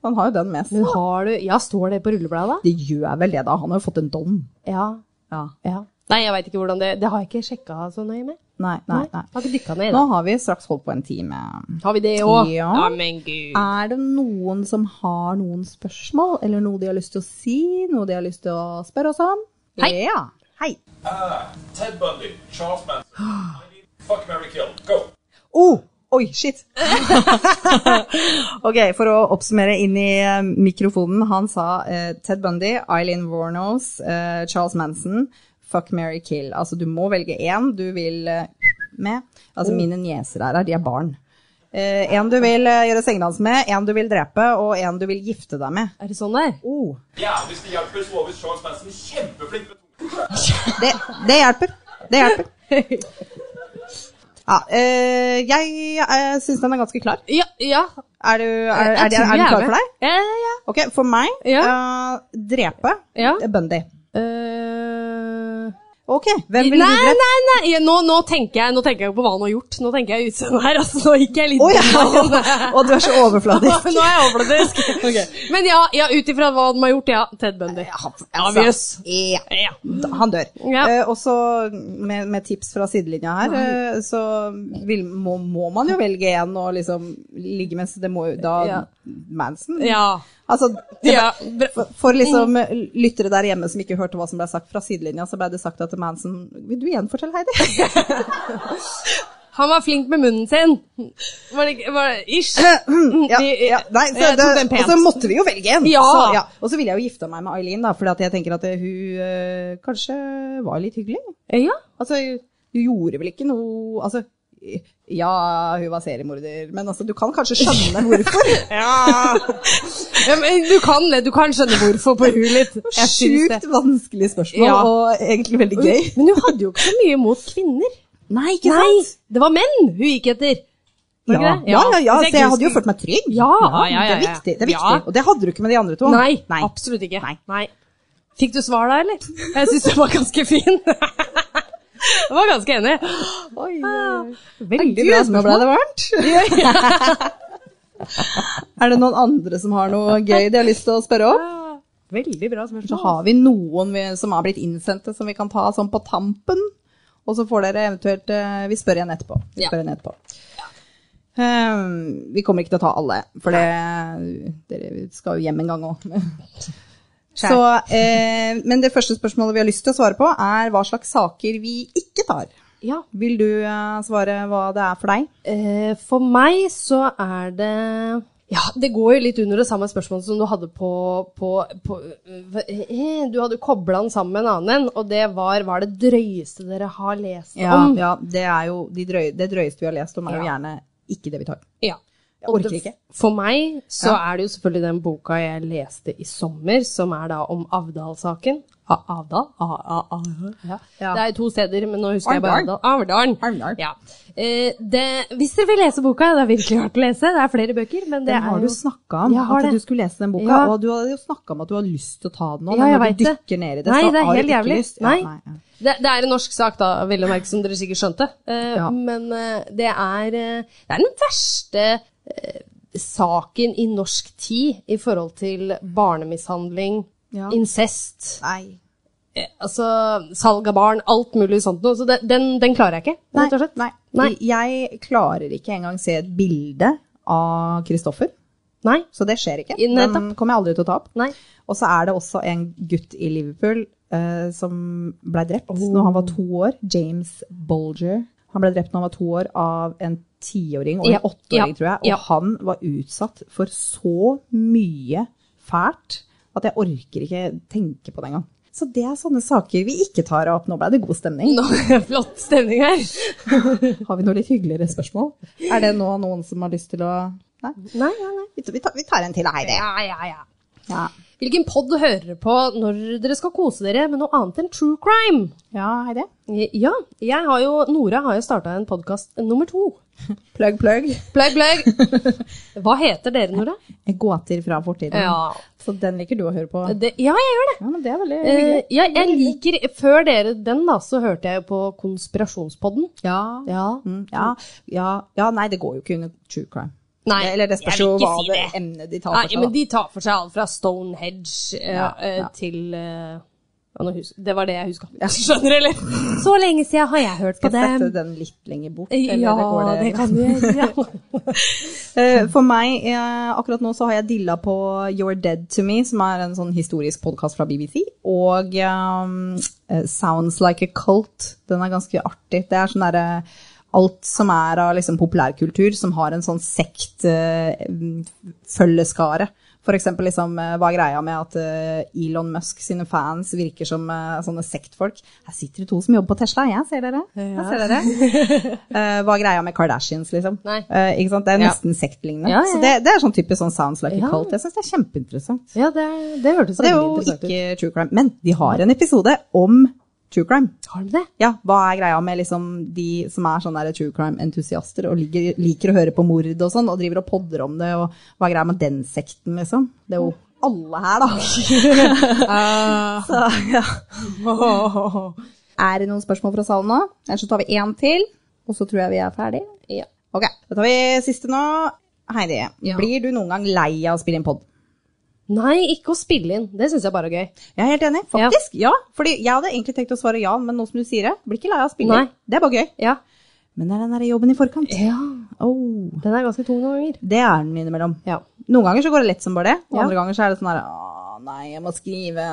Han har jo den med seg.
men har du Ja, står det på rullebladet?
Det gjør vel det, da. Han har jo fått en dom.
Ja.
Ja.
ja. Nei, jeg veit ikke hvordan det Det har jeg ikke sjekka så nøye med.
Nei, nei, nei.
Har ikke dykka ned i
Nå
det.
har vi straks holdt på en time.
Har vi det òg?
Ja.
men gud.
Er det noen som har noen spørsmål, eller noe de har lyst til å si, noe de har lyst til å spørre oss om?
Hei.
Ja. Hei.
Ah, Ted Bundy, Charles Manson. I need fuck Mary Kill. Go.
Oh, oi, shit. ok, for å oppsummere inn i eh, mikrofonen. Han sa eh, Ted Bundy, Eileen Warnos, eh, Charles Manson, fuck, marry, kill. Altså, du må velge én du vil eh, med. Altså, mine nieser her, de er barn. Eh, en du vil eh, gjøre sengedans med, en du vil drepe, og en du vil gifte deg med.
Er det sånn der?
Oh,
Ja, hvis det hjelper, så var visst Charles Manson kjempeflink med to.
det, det hjelper. Det hjelper. Ja, eh, jeg uh, syns den er ganske klar.
Ja. ja.
Er du, er, er,
Jeg
de-
tror
er
jeg
du klar
med.
for deg?
Ja, ja, ja.
Ok, for meg
Ja.
eh, drepe
Ja.
eh, Bundy.
Eh,
Ok, hvem vil
nei,
du drepe?
nei, nei, nå, nå, tenker jeg, nå tenker jeg på hva han har gjort. Nå tenker jeg utseendet her. Altså, nå gikk jeg litt
Å
inn på
ja! Og du er så overfladisk.
Nå er jeg overfladisk. Men ja, ja ut ifra hva han har gjort, ja. Ted Bundy. Ja,
altså.
jøs.
Ja.
Ja.
Han dør.
Ja.
Eh, og så med, med tips fra sidelinja her, eh, så vil, må, må man jo velge en og liksom ligge mens det må jo da
Ja.
Manson.
ja.
Altså, det,
ja. Mm. bra.
for, for liksom eh, lyttere der hjemme som ikke hørte hva som ble sagt fra sidelinja, så ble det sagt at Manson Vil du gjenfortelle, Heidi?
Han var flink med munnen sin. Var det, ikke- var det ish?
Eh, hm,
Mm,
ja, ja, nei, så
jeg
det,
tok den
og
pent.
så måtte vi jo velge en.
Ja.
Så, ja. Og så ville jeg jo gifte meg med Eileen, da, fordi at jeg tenker at eh, hun eh, kanskje var litt hyggelig.
Ja.
Altså, du gjorde vel ikke noe Altså, ja, hun var seriemorder, men altså, du kan kanskje skjønne hvorfor?
ja men du, kan, det. du kan skjønne hvorfor på huet litt. Jeg syns det.
Sjukt vanskelig spørsmål,
Ja.
og egentlig veldig gøy.
Men hun hadde jo ikke så mye mot kvinner.
Nei,
Nei, det var menn hun gikk etter. Var
Ja,
det
ja,
ikke
ja,
det?
ja,
Hvis
så jeg hadde jo
kunne-
følt meg trygg.
Ja, ja, ja,
Det er
ja.
viktig, det er viktig.
Ja.
Og det hadde du ikke med de andre to.
Nei,
Nei.
absolutt ikke.
Nei.
Fikk du svar da, eller? Jeg syns den var ganske fin. Jeg var ganske enig.
Oi, Ah. Gud,
Veldig bra
nå ble
spørsmål.
det varmt. Er det noen andre som har noe gøy de har lyst til å spørre om?
Veldig bra
Så
spørsmål.
har vi noen vi, som har blitt innsendte, som vi kan ta sånn på tampen. Og så får dere eventuelt eh, Vi spør igjen etterpå. Vi,
Ja.
spør igjen etterpå. Ehm, vi kommer ikke til å ta alle, for det, dere skal jo hjem en gang òg. Så, eh, men det første spørsmålet vi har lyst til å svare på, er hva slags saker vi ikke tar.
Ja.
Vil du eh, svare hva det er for deg?
Eh, for meg så er det ja, Det går jo litt under det samme spørsmålet som du hadde på, på, på eh, Du hadde kobla den sammen med en annen en, og det var Hva er det drøyeste dere har lest
Ja,
om?
ja det, er jo de drøy, det drøyeste vi har lest om, er jo
Ja.
gjerne ikke det vi tar.
Ja.
Jeg orker
det-
ikke.
For meg så
Ja.
er det jo selvfølgelig den boka jeg leste i sommer, som er da om Avdal-saken. A- Avdal? A -a -a ja.
Ja.
Det er to steder, men nå husker jeg bare
Arendal.
Avdal. Arendal.
Arendal.
Ja. Eh, det, hvis dere vil lese boka, det er virkelig verdt å lese. Det er flere bøker, men det
Den
er
har du
jo
snakka om,
Jeg har
at
det.
du skulle lese den boka.
Ja.
Og du hadde jo snakka om at du har lyst til å ta den nå.
Ja,
men
jeg
når
vet
du
det.
dykker ned i det,
Nei,
så
det er
har du
helt
ikke
jævlig.
lyst.
Nei.
ja.
Det, det er en norsk sak, da, vel å merke, som dere sikkert skjønte. Eh,
Ja.
Men eh, det, er, eh, det er den verste eh, saken i norsk tid i forhold til barnemishandling,
Ja.
incest,
Nei.
eh, altså salg av barn, alt mulig sånt noe. Så det, den, den klarer jeg ikke,
Nei.
rett og slett.
Nei.
Nei.
Jeg klarer ikke engang se et bilde av Kristoffer,
Nei.
så det skjer ikke.
I- nettopp.
Den kommer jeg aldri til å ta opp.
Nei.
Og så er det også en gutt i Liverpool eh, som ble drept når han var to år. James Bolger. Han ble drept når han var to år av en tiåring og
Ja,
en åtteåring,
ja,
tror jeg. Og
ja.
han var utsatt for så mye fælt at jeg orker ikke tenke på det engang. Så det er sånne saker vi ikke tar opp. Nå ble det god stemning.
Nå, flott stemning her.
Har vi noe litt hyggeligere spørsmål? Er det nå noen som har lyst til å Nei?
Nei, ja, nei.
Vi tar- vi tar, vi tar en til, Heidi.
Ja, ja, ja.
Ja.
Hvilken pod hører dere på når dere skal kose dere med noe annet enn true crime?
ja, Heidi.
Ja, jeg har jo, Nora har jo starta en podkast nummer to.
Plugg, plugg.
Plugg, plugg. Hva heter dere, Nora?
Gåter fra fortiden.
Ja.
Så den liker du å høre på?
Det, ja, jeg gjør det.
Ja, men det er veldig
Eh, ja, jeg liker, Før dere den, da, så hørte jeg jo på Konspirasjonspodden.
ja. Ja.
Ja.
Mm, ja, ja, ja, nei, det går jo ikke under true crime.
Nei,
Eller det spørs
jeg
jo
vil ikke
hva
si
det
det.
emnet de tar
Nei,
for seg.
men
da.
de tar for seg alt fra Stonehedge eh,
Ja,
eh,
ja.
til eh, ja, nå hus- Det var det jeg huska. Skjønner du, eller? Så lenge siden har jeg hørt på
Skal
det.
sette den litt lenger bort?
Eh,
eller
Ja,
går
det kan du gjøre.
Eh, For meg, eh, akkurat nå så har jeg dilla på You're Dead To Me, som er en sånn historisk podkast fra BBC, og um, eh, Sounds Like A Cult. Den er ganske artig. Det er sånn derre Alt som er av liksom populærkultur, som har en sånn sekt eh, følgeskare. For eksempel liksom, eh, hva er greia med at eh, Elon Musk sine fans virker som eh, sånne sektfolk? Her sitter det to som jobber på Tesla, jeg ser dere. Jeg ser dere. Eh, hva er greia med Kardashians, liksom?
Nei.
Eh, ikke sant? Det er
Ja.
nesten sektlignende.
Ja, ja,
Så det, det er sånn typisk sånn sounds like
Ja.
a cult. Jeg syns det er kjempeinteressant.
Ja, det, det hørtes
Så det er jo
veldig interessant ut.
ikke true crime. Men de har en episode om true crime.
Har de det?
Ja, hva er greia med liksom de som er sånne der true crime-entusiaster og ligger, liker å høre på mord og sånn, og driver og podder om det, og hva er greia med den sekten, liksom? Det er jo alle her, da. Så, ja. Er det noen spørsmål fra salen nå? Ellers så tar vi én til, og så tror jeg vi er ferdig.
Ja.
Ok, da tar vi siste nå. Heidi,
Ja.
blir du noen gang lei av å spille inn pod?
Nei, ikke å spille inn. Det syns jeg bare er gøy.
Jeg er helt enig, faktisk. Ja. Fordi jeg hadde egentlig tenkt å svare ja, men nå som du sier det, blir ikke lei av å spille
Nei.
inn. Det er bare gøy.
Ja.
Men det er den der jobben i forkant. Oh.
Den er ganske tung noen ganger.
Det er den innimellom.
Ja.
Noen ganger så går det lett som bare det, og
Ja. Mm.
andre ganger så er det sånn her Å, nei, jeg må skrive.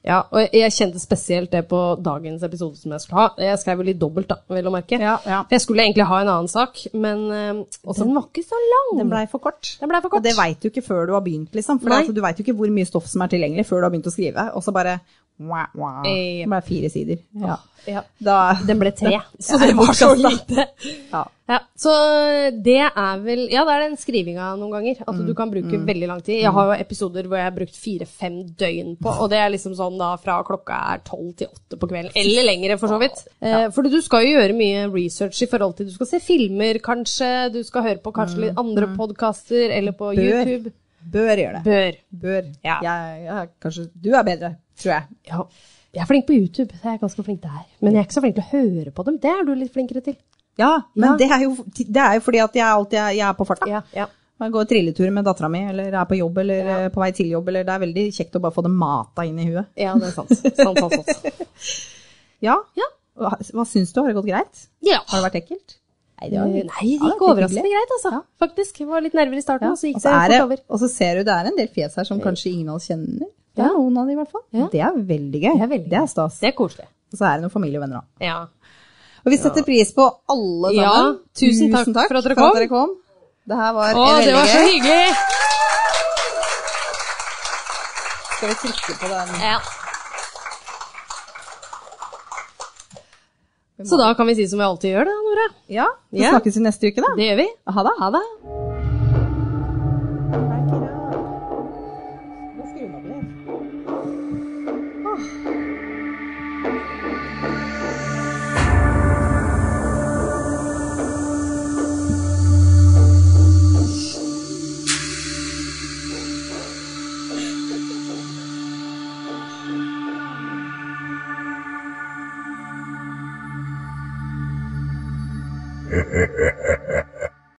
Ja, og jeg kjente spesielt det på dagens episode som jeg skulle ha. Jeg skrev jo litt dobbelt, da, vel å merke.
Ja, ja.
For jeg skulle egentlig ha en annen sak, men eh, den var ikke så lang.
Den blei for kort.
Den ble for kort.
Og det veit du ikke før du har begynt, liksom. For
Nei.
altså, du veit jo ikke hvor mye stoff som er tilgjengelig før du har begynt å skrive, og så bare wah, wah.
Eh, ja.
Det ble fire sider. Ja.
ja.
Da
Den ble tre,
Ja,
så det var så
bortkastet.
lite.
Ja.
Ja, så det er vel Ja, det er den skrivinga noen ganger. At du kan bruke veldig lang tid. Jeg har jo episoder hvor jeg har brukt fire-fem døgn på, og det er liksom sånn da fra klokka er tolv til åtte på kvelden. Eller lengre, for så vidt. Eh, fordi du skal jo gjøre mye research i forhold til Du skal se filmer, kanskje. Du skal høre på kanskje litt andre podkaster, eller på
Bør.
YouTube.
Bør gjøre det.
Bør.
Bør.
Ja.
Jeg, jeg, kanskje du er bedre, tror jeg.
Ja. Jeg er flink på YouTube, jeg er ganske flink der. Men jeg er ikke så flink til å høre på dem. Det er du litt flinkere til.
Ja, men
Ja.
Det, er jo, det er jo fordi at jeg alltid er, jeg er på farta.
Ja, ja.
Jeg går trilletur med dattera mi, eller er på jobb, eller eh, på vei til jobb, eller det er veldig kjekt å bare få det mata inn i huet.
Ja, det er sant. sant, sant, sant.
Ja.
Ja.
Hva, hva syns du? Har det gått greit?
ja.
Har det vært ekkelt? Nei,
Nei, det gikk
det var
overraskende
hyggelig.
greit, altså. Faktisk. Jeg var litt nerver i starten, og så gikk
Og så
det
er
fort
det,
over.
og så ser du det er en del fjes her som kanskje ingen av oss kjenner. Det er
Ja.
noen av de i hvert fall.
Ja.
Det er veldig gøy.
Det er veldig gøy.
stas.
Det er koselig.
Og så er det noen familie og venner òg.
Ja.
Og vi setter pris på alle
Ja,
sammen.
tusen takk for at dere kom.
Det her var
Å,
veldig
det var så
gøy.
hyggelig!
Skal vi trykke på den?
Ja. Så da kan vi si som vi alltid gjør, da, Nora.
Ja, så
Ja.
snakkes vi neste uke, da.
Det gjør vi.
Ha det.
Ha det.